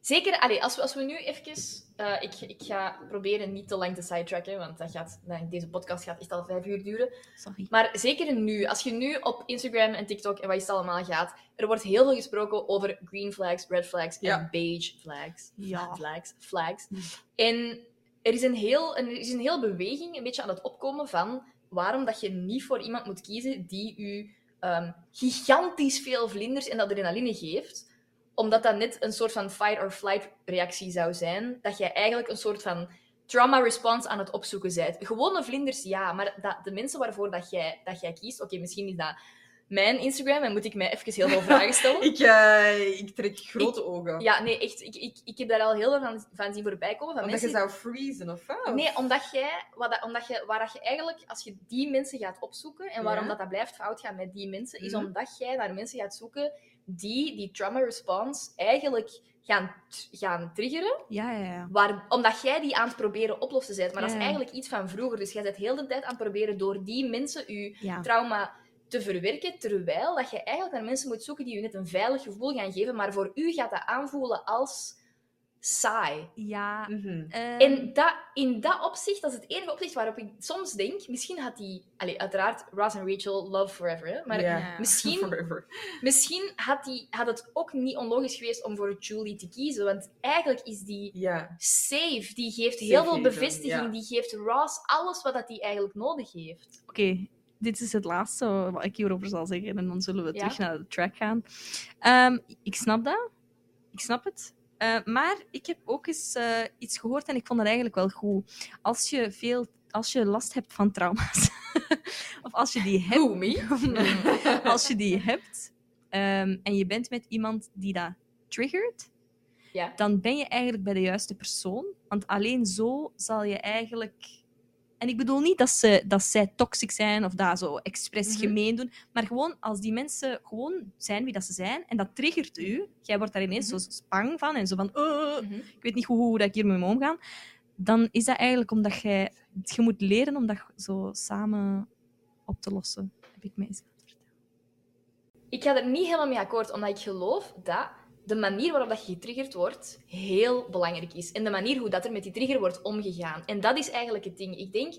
Zeker, allee, als, we, als we nu even. eh, ik, ik ga proberen niet te lang te sidetracken, want dat gaat, nou, deze podcast gaat echt al vijf uur duren.
Sorry.
Maar zeker nu, als je nu op Instagram en TikTok en wat is het allemaal gaat, er wordt heel veel gesproken over green flags, red flags en
Ja.
beige flags.
Ja.
Flags, flags. En er is, een heel, een, er is een heel beweging een beetje aan het opkomen van waarom dat je niet voor iemand moet kiezen die u ehm, gigantisch veel vlinders en adrenaline geeft. Omdat dat net een soort van fight or flight reactie zou zijn. Dat jij eigenlijk een soort van trauma response aan het opzoeken bent. Gewone vlinders, ja, maar dat, de mensen waarvoor dat jij, dat jij kiest, oké, misschien is dat mijn Instagram en moet ik mij even heel veel vragen stellen.
Ik, eh, ik trek grote ogen.
Ja, nee, echt. Ik, ik, ik heb daar al heel veel van, van zien voorbij komen. Van
Omdat
mensen
je zou freezen of wat?
Nee, omdat jij, wat dat- omdat je, waar dat je eigenlijk, als je die mensen gaat opzoeken, en waarom
Ja.
dat, dat blijft fout gaan met die mensen, is
Mhm.
omdat jij naar mensen gaat zoeken die die trauma response eigenlijk gaan, t- gaan triggeren,
Ja, ja, ja.
waar, omdat jij die aan het proberen oplossen bent. Maar dat
Ja,
is
ja.
eigenlijk iets van vroeger. Dus jij bent heel de tijd aan het proberen door die mensen je
Ah.
Ja.
trauma te verwerken, terwijl dat je eigenlijk naar mensen moet zoeken die je net een veilig gevoel gaan geven, maar voor u gaat dat aanvoelen als saai.
ja
Mhm.
ehm,
En dat, in dat opzicht, dat is het enige opzicht waarop ik soms denk, misschien had die, allee, uiteraard, Ross en Rachel, love forever, hè, maar
Ja.
ja.
misschien,
Forever.
misschien had, die, had het ook niet onlogisch geweest om voor Julie te kiezen, want eigenlijk is die
Ja.
safe, die geeft heel
Safe
veel
haven,
bevestiging,
ja.
die geeft Ross alles wat dat die eigenlijk nodig heeft.
Oké, dit is het laatste wat ik hierover zal zeggen. En dan zullen we
Ja.
terug naar de track gaan. Ehm, ik snap dat. Ik snap het. Eh, maar ik heb ook eens eh, iets gehoord en ik vond het eigenlijk wel goed. Als je, veel, als je last hebt van trauma's, of als je die hebt, als je die hebt ehm, en je bent met iemand die dat triggert,
Ja.
dan ben je eigenlijk bij de juiste persoon. Want alleen zo zal je eigenlijk. En ik bedoel niet dat, ze, dat zij toxic zijn of dat zo expres
Mhm.
gemeen doen. Maar gewoon als die mensen gewoon zijn wie dat ze zijn en dat triggert u, jij wordt daar ineens zo spang van en zo van, "Oh,
Mhm.
ik weet niet goed hoe dat ik hiermee moet omgaan. Dan is dat eigenlijk omdat jij, je moet leren om dat zo samen op te lossen. Heb ik mij eens laten vertellen.
Ik ga er niet helemaal mee akkoord, omdat ik geloof dat de manier waarop dat je getriggerd wordt heel belangrijk is. En de manier hoe dat er met die trigger wordt omgegaan. En dat is eigenlijk het ding. Ik denk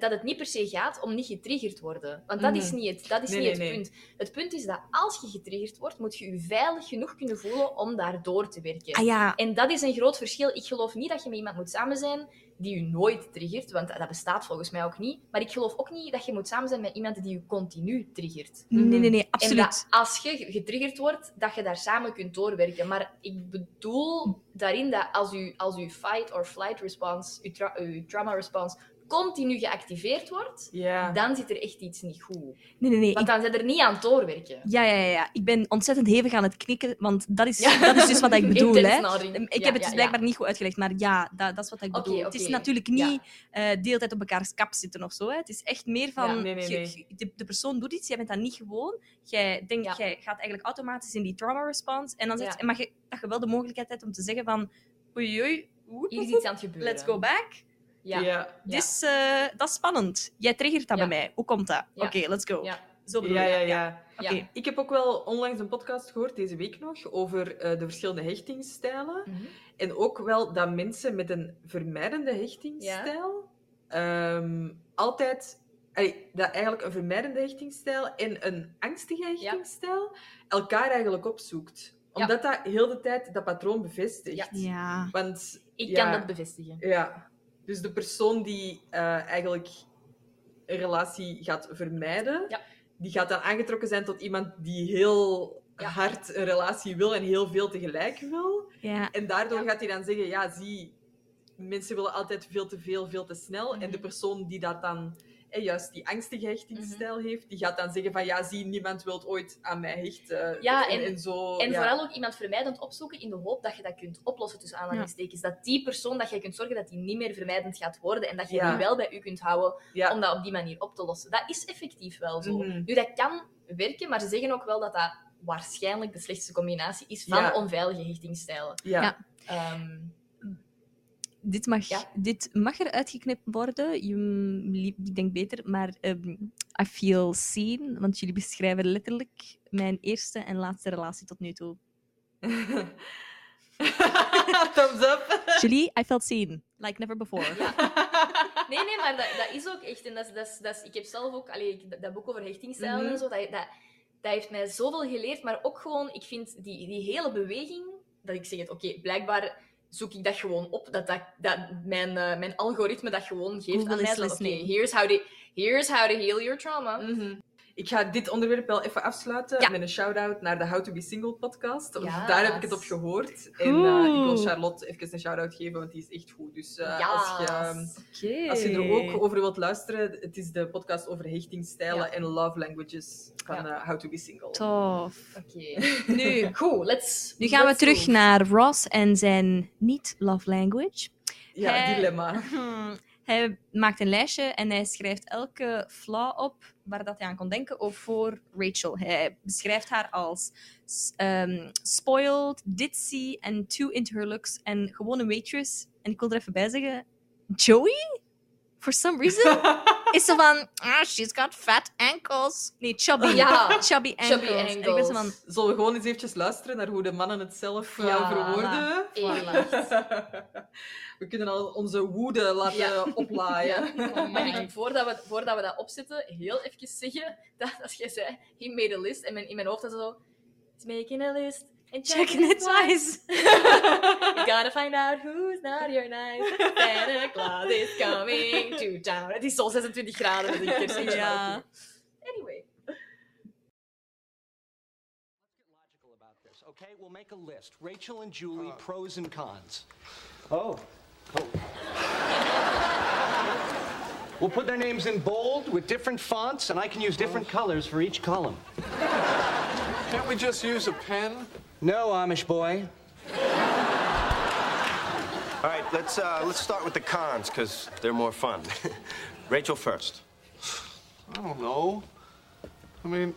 dat het niet per se gaat om niet getriggerd te worden. Want dat
Mhm.
is niet het, dat is
Nee,
niet het
nee, nee.
punt. Het punt is dat als je getriggerd wordt, moet je je veilig genoeg kunnen voelen om daardoor te werken.
Ah ja,
En dat is een groot verschil. Ik geloof niet dat je met iemand moet samen zijn die je nooit triggert, want dat bestaat volgens mij ook niet. Maar ik geloof ook niet dat je moet samen zijn met iemand die je continu triggert.
nee, nee, nee,
En
absoluut.
dat als je getriggerd wordt, dat je daar samen kunt doorwerken. Maar ik bedoel daarin dat als je, als uw fight or flight response, je, tra- uw trauma response, continu geactiveerd wordt,
Ja.
dan zit er echt iets niet goed.
Nee, nee, nee.
Want
ik-
dan zijn er niet aan het doorwerken.
ja, ja, ja, ja. Ik ben ontzettend hevig aan het knikken, want dat is,
Ja.
dat is dus wat ik bedoel.
Intens
hè.
nadenken.
Ik
Ja,
heb het
ja,
dus
ja.
blijkbaar niet goed uitgelegd, maar ja, dat, dat is wat ik
Oké,
bedoel. Het is
oké.
natuurlijk
Ja.
niet eh deeltijd op elkaars kap zitten of zo. Hè. Het is echt meer van,
Ja, nee, nee,
je-
nee.
je- de, de persoon doet iets, jij bent dat niet gewoon. Jij, denkt,
Ja.
jij gaat eigenlijk automatisch in die trauma response. En dan zegt,
Ja.
maar je, dat je wel de mogelijkheid hebt om te zeggen van, oei, oei, woep,
Hier is
woep,
iets aan het gebeuren.
let's go back.
Ja. Ja.
Ja.
Ja.
Dus, eh, dat is spannend. Jij triggert dat
Ja.
bij mij. Hoe komt dat?
Ja.
Oké, let's go.
Ja.
Zo bedoel
Ja,
je.
ja,
dat,
ja.
Oké.
Ja.
Ik heb ook wel onlangs een podcast gehoord, deze week nog, over eh, de verschillende hechtingsstijlen.
Mhm.
En ook wel dat mensen met een vermijdende hechtingsstijl ehm, altijd... allee, dat eigenlijk een vermijdende hechtingsstijl en een angstige hechtingsstijl elkaar eigenlijk opzoekt.
Ja.
Omdat dat heel de tijd dat patroon bevestigt.
Ja.
ja.
Want,
Ik
ja,
kan dat bevestigen.
Ja. Dus de persoon die eh, eigenlijk een relatie gaat vermijden,
Ja.
die gaat dan aangetrokken zijn tot iemand die heel
Ja.
hard een relatie wil en heel veel tegelijk wil.
Ja,
En daardoor
Ja.
gaat hij dan zeggen, ja, zie, mensen willen altijd veel te veel, veel te snel. En de
Mhm.
persoon die dat dan... eh, juist die angstige hechtingsstijl
Mhm.
heeft, die gaat dan zeggen van ja, zie, niemand wil ooit aan mij hechten.
Ja, en-
zo.
Oh,
En
ja.
vooral ook iemand vermijdend opzoeken in de hoop dat je dat kunt oplossen tussen aanhalingstekens. Dat die persoon, dat jij kunt zorgen dat die niet meer vermijdend gaat worden en dat je
Ja.
die wel bij u kunt houden
Ja.
om dat op die manier op te lossen. Dat is effectief wel zo.
Mhm.
Nu, dat kan werken, maar ze zeggen ook wel dat dat waarschijnlijk de slechtste combinatie is van
Ja.
onveilige hechtingsstijlen.
Ja.
Ja.
Ehm,
dit mag,
Ja.
dit mag eruit geknipt worden. Je, mm, liep- ik denk beter, maar ehm I feel seen, want jullie beschrijven letterlijk mijn eerste en laatste relatie tot nu toe.
Thumbs up.
Julie, I felt seen, like never before.
Nee, nee, maar dat, dat is ook echt. En dat, is- dat, is- dat, is- ik heb zelf ook allee, ik- dat, dat boek over hechtingsstijlen
Mhm.
en zo. Dat, dat, dat heeft mij zoveel geleerd. Maar ook gewoon, ik vind die, die hele beweging. Dat ik zeg het, oké, blijkbaar zoek ik dat gewoon op. Dat, dat, dat mijn, eh, mijn algoritme dat gewoon geeft
Google
aan mij.
is
Van, oké,
listening.
here's, how to- here's how to heal your trauma.
Mm. Ik ga dit onderwerp wel even afsluiten
Mhm. Ja.
met een shout-out naar de How to Be Single podcast. want
Yes.
Daar heb ik het op gehoord. En eh, ik wil Charlotte even een shout-out geven, want die is echt goed. Dus eh, als, je, ehm,
Yes.
als je er ook over wilt luisteren, het is de podcast over hechtingsstijlen
Ja.
en love languages van eh, How to Be Single.
Tof.
Oké. Nu, goed, let's...
Nu gaan we
let's
terug
go.
naar Ross en zijn niet-love language.
Ja,
Hey.
dilemma.
Ah.
Mhm. Hij maakt een lijstje en hij schrijft elke flaw op waar dat hij aan kon denken of voor Rachel. Hij beschrijft haar als s- ehm, spoiled, ditzy en too into her looks en gewoon een waitress. En ik wil er even bij zeggen, Joey? For some reason is ze van, ah, she's got fat ankles. Nee, chubby.
Ja,
chubby ankles.
chubby
En ik ben zo van,
ankles.
Zullen we gewoon eens eventjes luisteren naar hoe de mannen het zelf eh,
Voilà.
verwoorden?
Echt.
We kunnen al onze woede laten
Ja.
oplaaien.
Mag ik, voordat we, voordat we dat opzetten, heel even zeggen dat als jij zei, he made a list, en mijn, in mijn hoofd was het zo, he's making a list, and
checking it twice.
You gotta find out who's not your nice. Santa Claus is coming to town. Het is al 26 graden dus met een kerstje.
Ja.
Anyway.
logical about this, okay? We'll make a list. Rachel and
Uh.
Julie, pros and cons. Oh. we'll put their names in bold with different fonts, and I can use different colors for each column.
Can't we just use a pen?
No, Amish boy.
All right, let's uh, let's start with the cons because they're more fun. Rachel first.
I don't know. I mean,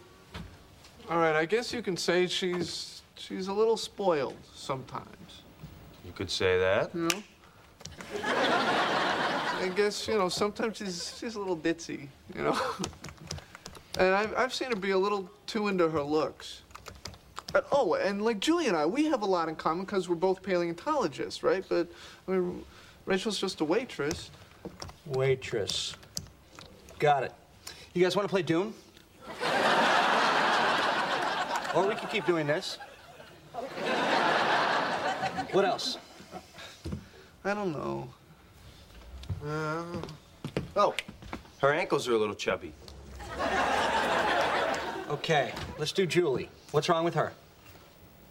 all right, I guess you can say she's she's a little spoiled sometimes.
You could say that.
I guess, you know, sometimes she's she's a little ditzy, you know. and I've I've seen her be a little too into her looks. But, oh, and like Julie and I, we have a lot in common because we're both paleontologists, right? But I mean, Rachel's just a waitress.
Waitress. Got it. You guys want to play Doom? or we can keep doing this. What else?
I don't know. Uh, oh,
Her ankles are a little chubby.
Okay, let's do Julie. What's wrong with her?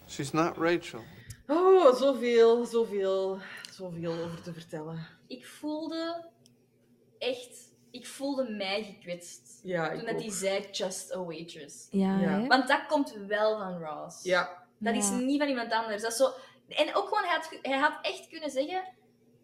she's not Rachel.
Oh, zoveel, zoveel, zoveel over te vertellen.
Ik voelde echt... Ik voelde mij gekwetst.
Ja, ik
toen dat
ook.
die zei, just a waitress.
Ja,
Ja.
hè?
Want dat komt wel van Ross.
Ja,
Dat is
Ja.
niet van iemand anders. Dat is zo... En ook gewoon, hij had, hij had echt kunnen zeggen...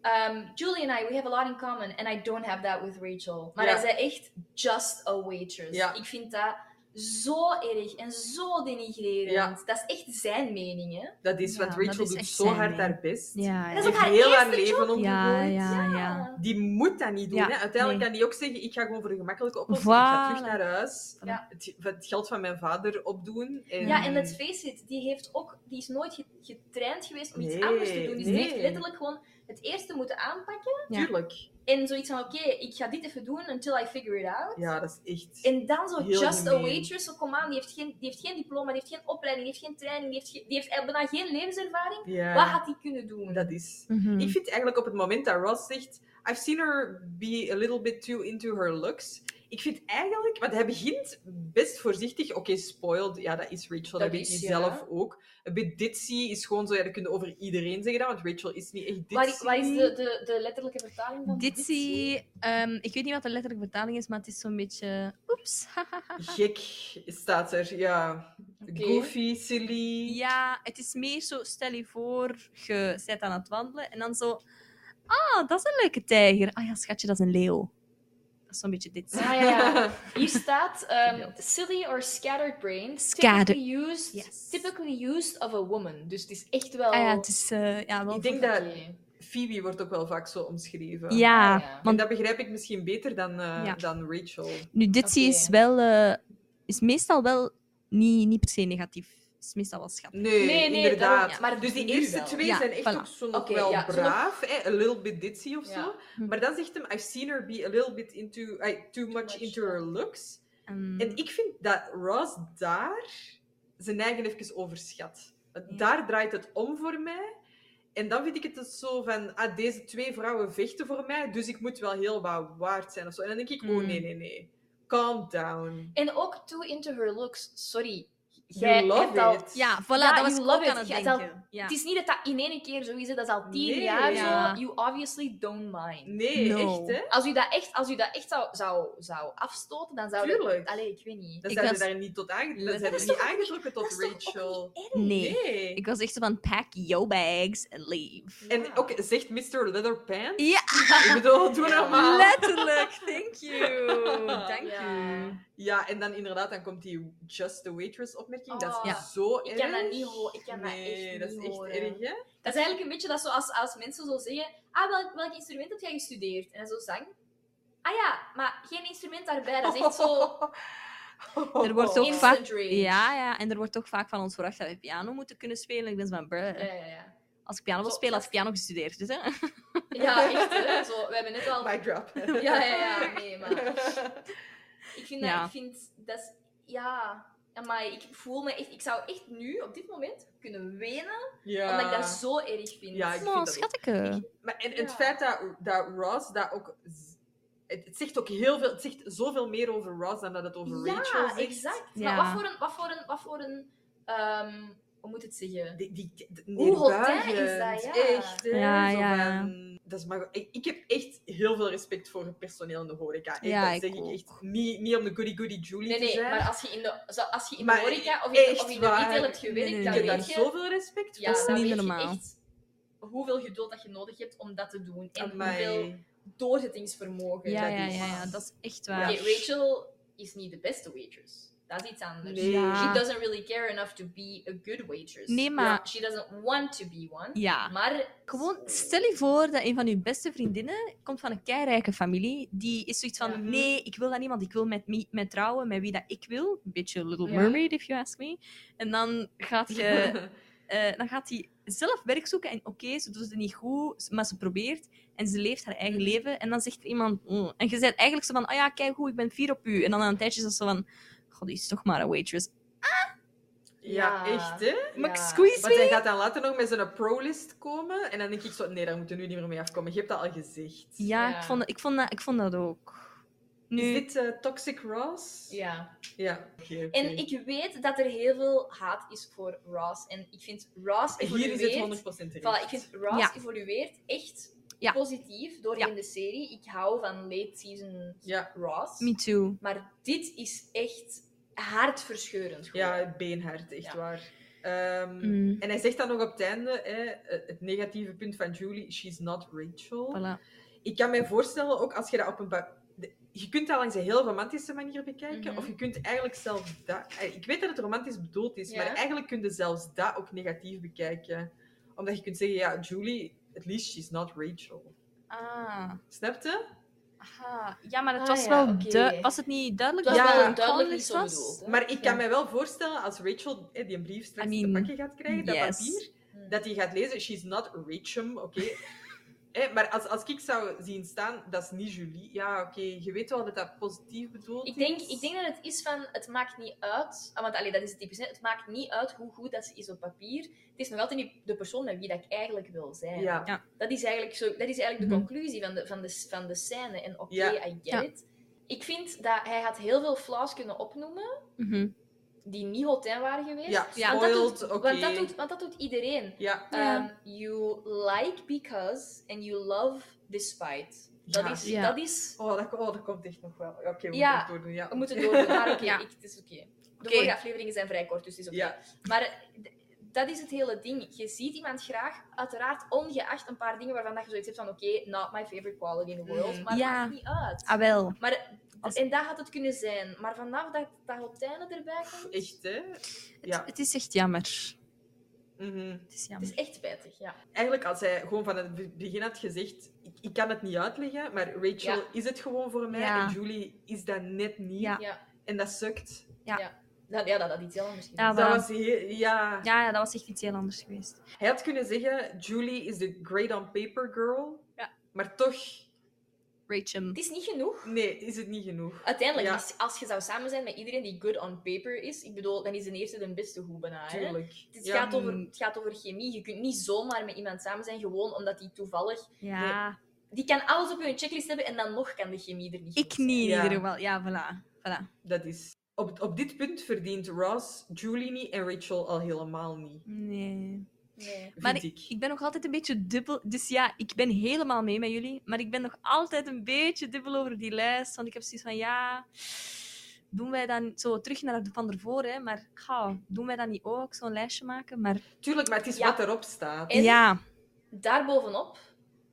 ehm, Julie and I, we have a lot in common. And I don't have that with Rachel. Maar
Ja.
hij zei echt, just a waitress.
Ja.
Ik vind dat zo erg en zo denigrerend.
Ja.
Dat is echt zijn mening, hè.
dat is, want
Ja, dat
Rachel
is
doet
echt
zo
zijn
hard
ding.
haar best.
ja,
En
ja.
dat
Die
is ook haar
heeft heel haar
eerste
leven
job.
omgegooid.
Ja, ja, ja.
Die moet dat niet doen.
Ja,
hè. Uiteindelijk
nee.
kan die ook zeggen, ik ga gewoon voor de gemakkelijke oplossing. Ik ga
Voilà.
terug naar huis.
Ja.
Het, het geld van mijn vader opdoen. En...
Ja, en let's face it, die, heeft ook, die is nooit ge- getraind geweest om iets
Nee,
anders te doen. Dus die
nee.
heeft letterlijk gewoon het eerste moeten aanpakken.
Ja.
Tuurlijk.
En zoiets van, oké, ik ga dit even doen until I figure it out.
Ja, dat is echt...
En dan zo
Heel
just a
gemeen.
waitress, zo kom aan, die heeft, geen, die heeft geen diploma, die heeft geen opleiding, die heeft geen training, die heeft, ge- die heeft eh, bijna geen levenservaring.
Ja,
Wat had die kunnen doen?
dat is...
Mhm.
Hmm.
Ik vind eigenlijk op het moment dat Ross zegt... I've seen her be a little bit too into her looks. Ik vind eigenlijk... Want hij begint best voorzichtig. Oké, spoiled. Ja, dat is Rachel. Dat,
Dat
weet
is,
hij
ja.
zelf ook. Een bit ditzy is gewoon zo... Ja, dat kun je over iedereen zeggen dan. Want Rachel is niet echt
Waar-
ditzy.
Wat is de, de, de letterlijke vertaling van
Ditzy, ehm, ik weet niet wat de letterlijke vertaling is, maar het is zo'n beetje... Oeps,
Gek staat er, ja.
Oké.
Goofy, silly.
Ja, het is meer zo, stel je voor, je bent aan het wandelen en dan zo... Ah, dat is een leuke tijger. Ah ja, schatje, dat is een leeuw. Dat is zo'n beetje dit.
Ah, ja, ja. Hier staat ehm, silly or scattered brain.
Scatter-
Typically used,
Yes.
typically used of a woman. Dus het is echt wel.
Ah ja, het is... eh, ja, wel
Ik denk
voor-
dat
Oké.
Phoebe wordt ook wel vaak zo omschreven.
Ja,
Ah, ja.
En
want
dat begrijp ik misschien beter dan, eh,
Ja.
dan Rachel.
nu, dit
Oké.
is wel... eh, is meestal wel niet, niet per se negatief. is meestal wel schattig.
Nee,
Nee, nee,
inderdaad.
daarom- ja, maar
dus die
nu
eerste
wel.
twee
Ja,
zijn echt
voilà.
ook zo nog
Oké,
wel
ja, zo nog-
braaf. hè, a little bit ditzy of
Ja.
zo.
Hm.
Maar dan zegt hem, I've seen her be a little bit into... ay, too much
much,
into
ja. Hm.
her looks.
Ehm,
En ik vind dat Ross daar zijn eigen even overschat.
Ja.
Daar draait het om voor mij. En dan vind ik het dus zo van, ah, deze twee vrouwen vechten voor mij, dus ik moet wel heel wat waard zijn of zo. En dan denk ik,
Hm.
oh nee, nee, nee. Calm down.
En ook too into her looks. Sorry.
You love
hebt al-
it.
Ja, voilà,
Ja,
dat was
you
ik
love
ook aan het
it. Je hebt al-
denken. Ja.
Het is niet dat dat in één keer zo is, hè. dat is al tien
Nee.
jaar
Ja.
zo. You obviously don't mind.
Nee,
No.
echt, hè?
Als u dat echt, als u dat echt zou, zou, zou afstoten, dan zou
Tuurlijk.
Allee, ik weet niet.
Dan
Ik
zijn ze
was-
daar niet tot aangetrokken.
Dat
Dan zijn
is
ze
toch
niet aangetrokken tot
dat is toch
Rachel.
Nee.
Nee.
Ik was echt zo van, pack your bags and leave.
En ook zegt Mr. Leatherpants?
Ja,
Ik bedoel, doe normaal.
letterlijk. Thank you. Dank
Ja.
you.
Ja, en dan inderdaad, dan komt die Just the Waitress-opmerking. dat is
Oh, Ja.
zo
ik
erg.
kan dat niet horen. Ik kan dat echt
nee,
niet
dat is echt
horen.
erg, hè?
Dat is eigenlijk een beetje dat zoals als mensen zo zeggen: Ah, welk, welk instrument heb jij gestudeerd? En dan zo zang. Ah ja, maar geen instrument daarbij. Dat is echt zo.
Er wordt ook
Instant
vaak...
rage.
Ja, ja, en er wordt ook vaak van ons verwacht dat we piano moeten kunnen spelen. Ik ben zo van, bruh.
Ja, ja, ja.
Als ik piano wil
Zo,
spelen, had
dat-
ik piano gestudeerd. Dus, hè.
Ja, echt. hè. Zo, we hebben net al.
Mic drop.
Ja, ja, ja. Nee, maar. Ik vind dat.
Ja.
Ik vind dat. is- Ja. Maar ik voel me echt. Ik zou echt nu, op dit moment, kunnen wenen.
ja.
Omdat ik dat zo erg vind.
Ja, ik- vind
Oh,
dat ook.
schatteke.
Maar en, en het
Ja.
feit dat, dat Ross dat ook... z- Het, het zegt ook heel veel... Het zegt zoveel meer over Ross dan dat het over
Ja,
Rachel zegt.
exact.
Ja.
Maar wat voor een. Wat voor een, wat voor een ehm, hoe moet het zeggen?
Die, die, die- die-
Hoe hautain is dat,
neerbuigend,
ja.
Echt, hè?
Ja,
Zo
ja.
van- dat is maar, ik, ik heb echt heel veel respect voor het personeel in de horeca. Echt,
Ja,
dat
ik
zeg ik
ook.
echt. Niet, niet om de goody-goody Julie
Nee,
te
nee,
zijn.
maar als je in de, zo- als je in de
Maar
horeca of in de,
echt
of in de
waar.
retail hebt gewerkt,
Nee,
dan
ik heb
nee,
daar
weet je,
zoveel respect voor.
ja,
Dat is
dan
niet
weet je
normaal.
echt hoeveel geduld dat je nodig hebt om dat te doen. En
Amai.
hoeveel doorzettingsvermogen
Ja,
dat
ja,
is.
ja, ja, dat is echt
Oké,
waar.
Rachel is niet de beste waitress. Dat is iets anders.
Nee. Ja.
She doesn't really care enough to be a good waitress.
Ah. Nee, maar-
Ja, She doesn't want to be one.
Ja.
Maar
Gewoon, stel je voor dat een van uw beste vriendinnen komt van een keirijke familie. Die is zoiets van,
Ja.
nee, ik wil dat niemand. Ik wil met, mi- met trouwen, met wie dat ik wil. Een beetje Little
Ja.
Mermaid, if you ask me. En dan gaat je... eh, dan gaat hij zelf werk zoeken en oké, ze doet het niet goed, maar ze probeert en ze leeft haar eigen
Mhm.
leven. En dan zegt iemand, "Mm." en je zegt eigenlijk zo van, oh ja, kijk hoe ik ben fier op u. En dan aan een tijdje is dat zo van, god, die is toch maar een waitress.
Ja,
Ja.
echt, hè?
Mag ik
Ja.
squeeze
Want
me?
hij gaat dan later nog met zijn pro-list komen. En dan denk ik zo, nee, daar moeten we nu niet meer mee afkomen. Je hebt dat al gezegd.
Ja,
Ja.
Ik, vond, dat- ik, vond dat, ik vond dat ook.
Is
Nu,
dit eh, Toxic Ross?
ja.
Ja, oké, oké.
En ik weet dat er heel veel haat is voor Ross. En ik vind Ross
Hier
evolueert...
is het 100% terecht.
Voilà, ik vind Ross
Ja.
evolueert echt
Ja.
positief doorheen de serie. Ik hou van late season
Ja.
Ross.
me too.
Maar dit is echt hartverscheurend. gewoon.
Ja, het beenhard, echt
Ja.
waar. Ehm,
Mm.
En hij zegt dan nog op het einde, hè, het negatieve punt van Julie, she's not Rachel.
Voilà.
Ik kan mij voorstellen, ook als je dat op een... ba- de- Je kunt dat langs een heel romantische manier bekijken,
Mhm.
of je kunt eigenlijk zelf dat... eh, Ik weet dat het romantisch bedoeld is,
Ja.
maar eigenlijk kun je zelfs dat ook negatief bekijken. Omdat je kunt zeggen, ja, Julie, at least she's not Rachel.
Ah,
Snap je?
aha. Ja, maar het
Ah,
was
ja,
wel...
oké.
du- was het niet duidelijk?
Het was
dat
wel
een
duidelijk
columnist
niet zo bedoeld, hè?
Maar ik kan
Ja.
mij wel voorstellen, als Rachel eh, die een brief straks
I
te
mean,
pakken gaat krijgen, dat
yes.
papier,
Hmm.
dat hij gaat lezen, she's not Rachel, oké. Eh, maar als, als ik zou zien staan, dat is niet Julie. Ja, oké, je weet wel dat dat positief bedoeld
Ik denk,
is.
ik denk dat het is van, het maakt niet uit, ah, want allee, dat is typisch, hè. het maakt niet uit hoe goed dat ze is op papier. Het is nog altijd niet de persoon met wie dat ik eigenlijk wil zijn.
Ja.
Dat is eigenlijk, zo, dat is eigenlijk de
Mhm.
conclusie van de, van de, van de scène. En oké,
Ja.
I get
Ja.
it. Ik vind dat hij had heel veel flaws kunnen opnoemen
Mhm.
die niet hotel waren geweest.
Ja,
Ja,
want, dat
spoiled,
doet,
oké.
want, dat doet, want dat doet iedereen.
Ja,
Ja.
Ehm, you like because and you love despite. Dat
Ja.
is...
Ja.
Dat is
oh dat, oh, dat komt echt nog wel. Oké, we
Ja,
moeten het doordoen. Ja.
we moeten door, maar oké,
Ja.
ik- het is oké. De
Oké.
vorige afleveringen zijn vrij kort, dus het is oké.
Ja.
Maar eh, d- dat is het hele ding. Je ziet iemand graag, uiteraard ongeacht een paar dingen waarvan dat je zoiets hebt van oké, not my favorite quality in the world,
Mhm.
maar het
Mm. Ja.
maakt niet uit.
Ah, wel.
Maar,
Als-
En dat had het kunnen zijn. Maar vanaf dat, dat Hotijnen erbij komt,
Echt, hè? Ja.
Het is echt jammer.
mhm.
Het is
het
jammer.
is echt spijtig. Ja.
Eigenlijk, als hij gewoon van het be- begin had gezegd, ik, ik kan het niet uitleggen, maar Rachel
Ja.
is het gewoon voor mij
Ja.
en Julie is dat net niet.
Ja.
Ja.
En dat sukt.
Dat, ja, dat had iets heel anders
Ja,
gedaan.
maar-
Dat was heel, ja.
Ja, ja, dat was echt iets heel anders geweest.
Hij had kunnen zeggen, Julie is de great on paper girl,
Ja.
maar toch,
Rachel.
Het is niet genoeg.
Nee, is het niet genoeg.
Uiteindelijk,
Ja.
als- als je zou samen zijn met iedereen die good on paper is, ik bedoel, dan is de eerste de beste goed bijna. hè.
Tuurlijk.
Het,
Ja. mm,
gaat
mm.
over, het gaat over chemie. Je kunt niet zomaar met iemand samen zijn, gewoon omdat die toevallig...
Ja.
Die kan alles op hun checklist hebben en dan nog kan de chemie er niet
Ik niet in
Ja.
ieder geval. Ja, voilà. voilà.
Dat is... Op, op dit punt verdient Ross Julie niet en Rachel al helemaal niet.
Nee.
Nee.
Vind
Maar
ik.
ik, ik ben nog altijd een beetje dubbel. Dus ja, ik ben helemaal mee met jullie. Maar ik ben nog altijd een beetje dubbel over die lijst. Want ik heb zoiets van, ja... Doen wij dan zo terug naar de van ervoor, hè? Maar gauw, doen wij dat niet ook, zo'n lijstje maken? Maar
Tuurlijk, maar het is
Ja.
wat erop staat.
En-
ja.
Daarbovenop,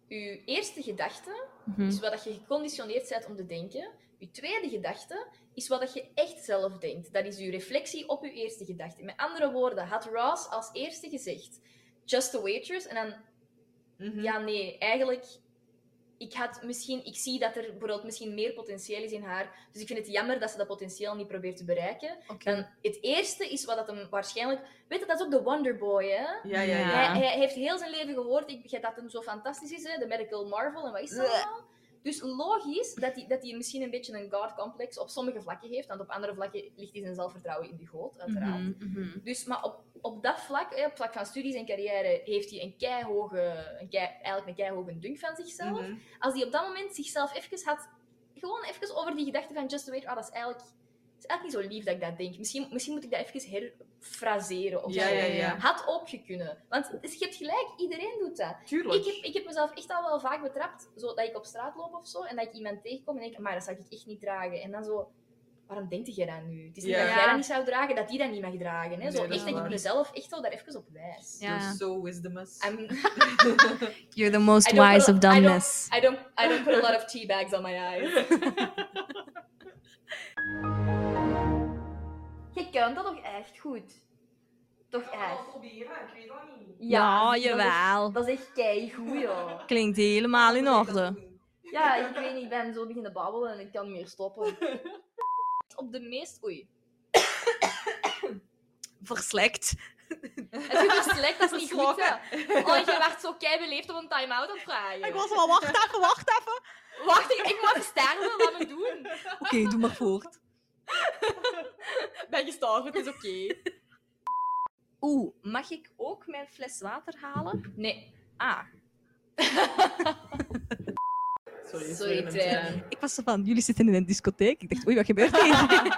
je eerste gedachte
Mhm.
is wat dat je geconditioneerd bent om te denken. Je tweede gedachte is wat dat je echt zelf denkt. Dat is je reflectie op je eerste gedachte. Met andere woorden, had Ross als eerste gezegd, just a waitress, en dan
Mhm.
Eh, Ja, nee, eigenlijk. Ik, had misschien, ik zie dat er bijvoorbeeld misschien meer potentieel is in haar. Dus ik vind het jammer dat ze dat potentieel niet probeert te bereiken.
Oké.
Dan, het eerste is wat dat hem waarschijnlijk. Weet je, dat is ook de Wonderboy, hè?
Ja, ja, ja.
Hij, hij heeft heel zijn leven gehoord ik, begrijp dat hem zo fantastisch is, hè? de Medical Marvel en wat is dat allemaal. Dus logisch dat hij, dat hij misschien een beetje een God-complex op sommige vlakken heeft, want op andere vlakken ligt hij zijn zelfvertrouwen in de goot, uiteraard.
Mhm, mhm.
Dus, maar op, op dat vlak, hè, op vlak van studies en carrière, heeft hij een keihoge, een kei, eigenlijk een keihoge dunk van zichzelf.
Mhm.
Als hij op dat moment zichzelf even had, gewoon even over die gedachte van Just Wait, ah, dat is eigenlijk, dat is eigenlijk niet zo lief dat ik dat denk. Misschien, misschien moet ik dat even herfraseren of
Ja,
zo.
ja, ja.
Had ook kunnen. Want het is- je hebt gelijk, iedereen doet dat.
Tuurlijk.
Ik heb, ik heb mezelf echt al wel vaak betrapt, zo dat ik op straat loop of zo, en dat ik iemand tegenkom en denk, maar dat zou ik echt niet dragen. En dan zo, waarom denk jij dat nu? Het is niet
Ja.
dat jij dat niet zou dragen, dat die dat niet mag dragen. Hè? Zo
Nee, dat
echt
is
dat ik
waar.
mezelf echt wel daar even op wijs.
Ja.
You're so wisdomous.
I'm,
You're the most
I don't
wise
put
of
a- I don't-
dumbness.
I don't, I don't put a lot of tea bags on my eyes. je kunt dat toch echt goed? Toch echt?
proberen, ik weet dat niet.
Ja,
zie, dat is-
jawel.
Dat is echt keigoed, joh.
Klinkt helemaal in orde.
Ja, ik weet niet, ik ben zo beginnen babbelen en ik kan niet meer stoppen. Op de meest... Oei.
Verslekt.
Het is slecht, dat is niet goed,
Verslokken.
hè. Oh, je werd zo kei beleefd op een time-out aan het vragen.
al, wacht even, wacht even.
Wacht, ik, ik moet even sterven, laat me doen.
Oké, doe maar voort.
Ben gestorven, het is oké.
Oeh, mag ik ook mijn fles water halen?
Nee,
Ah,
Sorry,
sorry,
sorry
Twijnen.
ik was zo van, jullie zitten in een discotheek. Ik dacht, oei, wat gebeurt hier?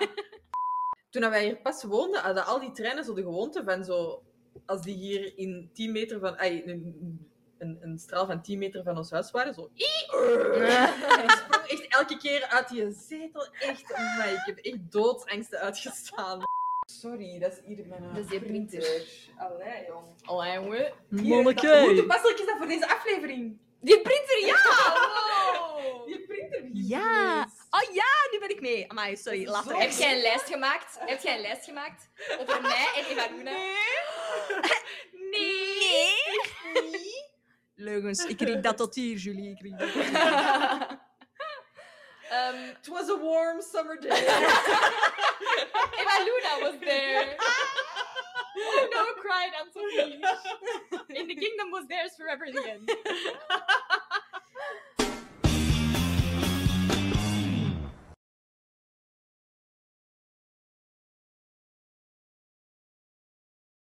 Toen wij hier pas woonden, hadden al die treinen zo de gewoonte van zo... Als die hier in 10 meter van... ai, een, een, een straal van 10 meter van ons huis waren, zo... En ik sprong echt elke keer uit die zetel. Echt, maar ik heb echt doodsangsten uitgestaan. Sorry, dat is hier mijn... eh,
Dat is de printer.
Allee, jong.
Allee, jongen.
Hoe
Monneke.
toepasselijk is dat voor deze aflevering?
Die printer, ja! Wow.
Die printer hier.
Ja. Oh ja, nu ben ik mee. Amai, sorry, later.
Heb jij een lijst gemaakt? Heb jij een lijst gemaakt? Over mij en Evaruna? Nee. Nee.
Leugens, ik riep dat tot hier, Julie. Ik riep dat tot hier.
Ehm,
It was a warm summer day.
Eva Luna was there. Oh no, cried Anthony. In the kingdom was theirs forever in the end.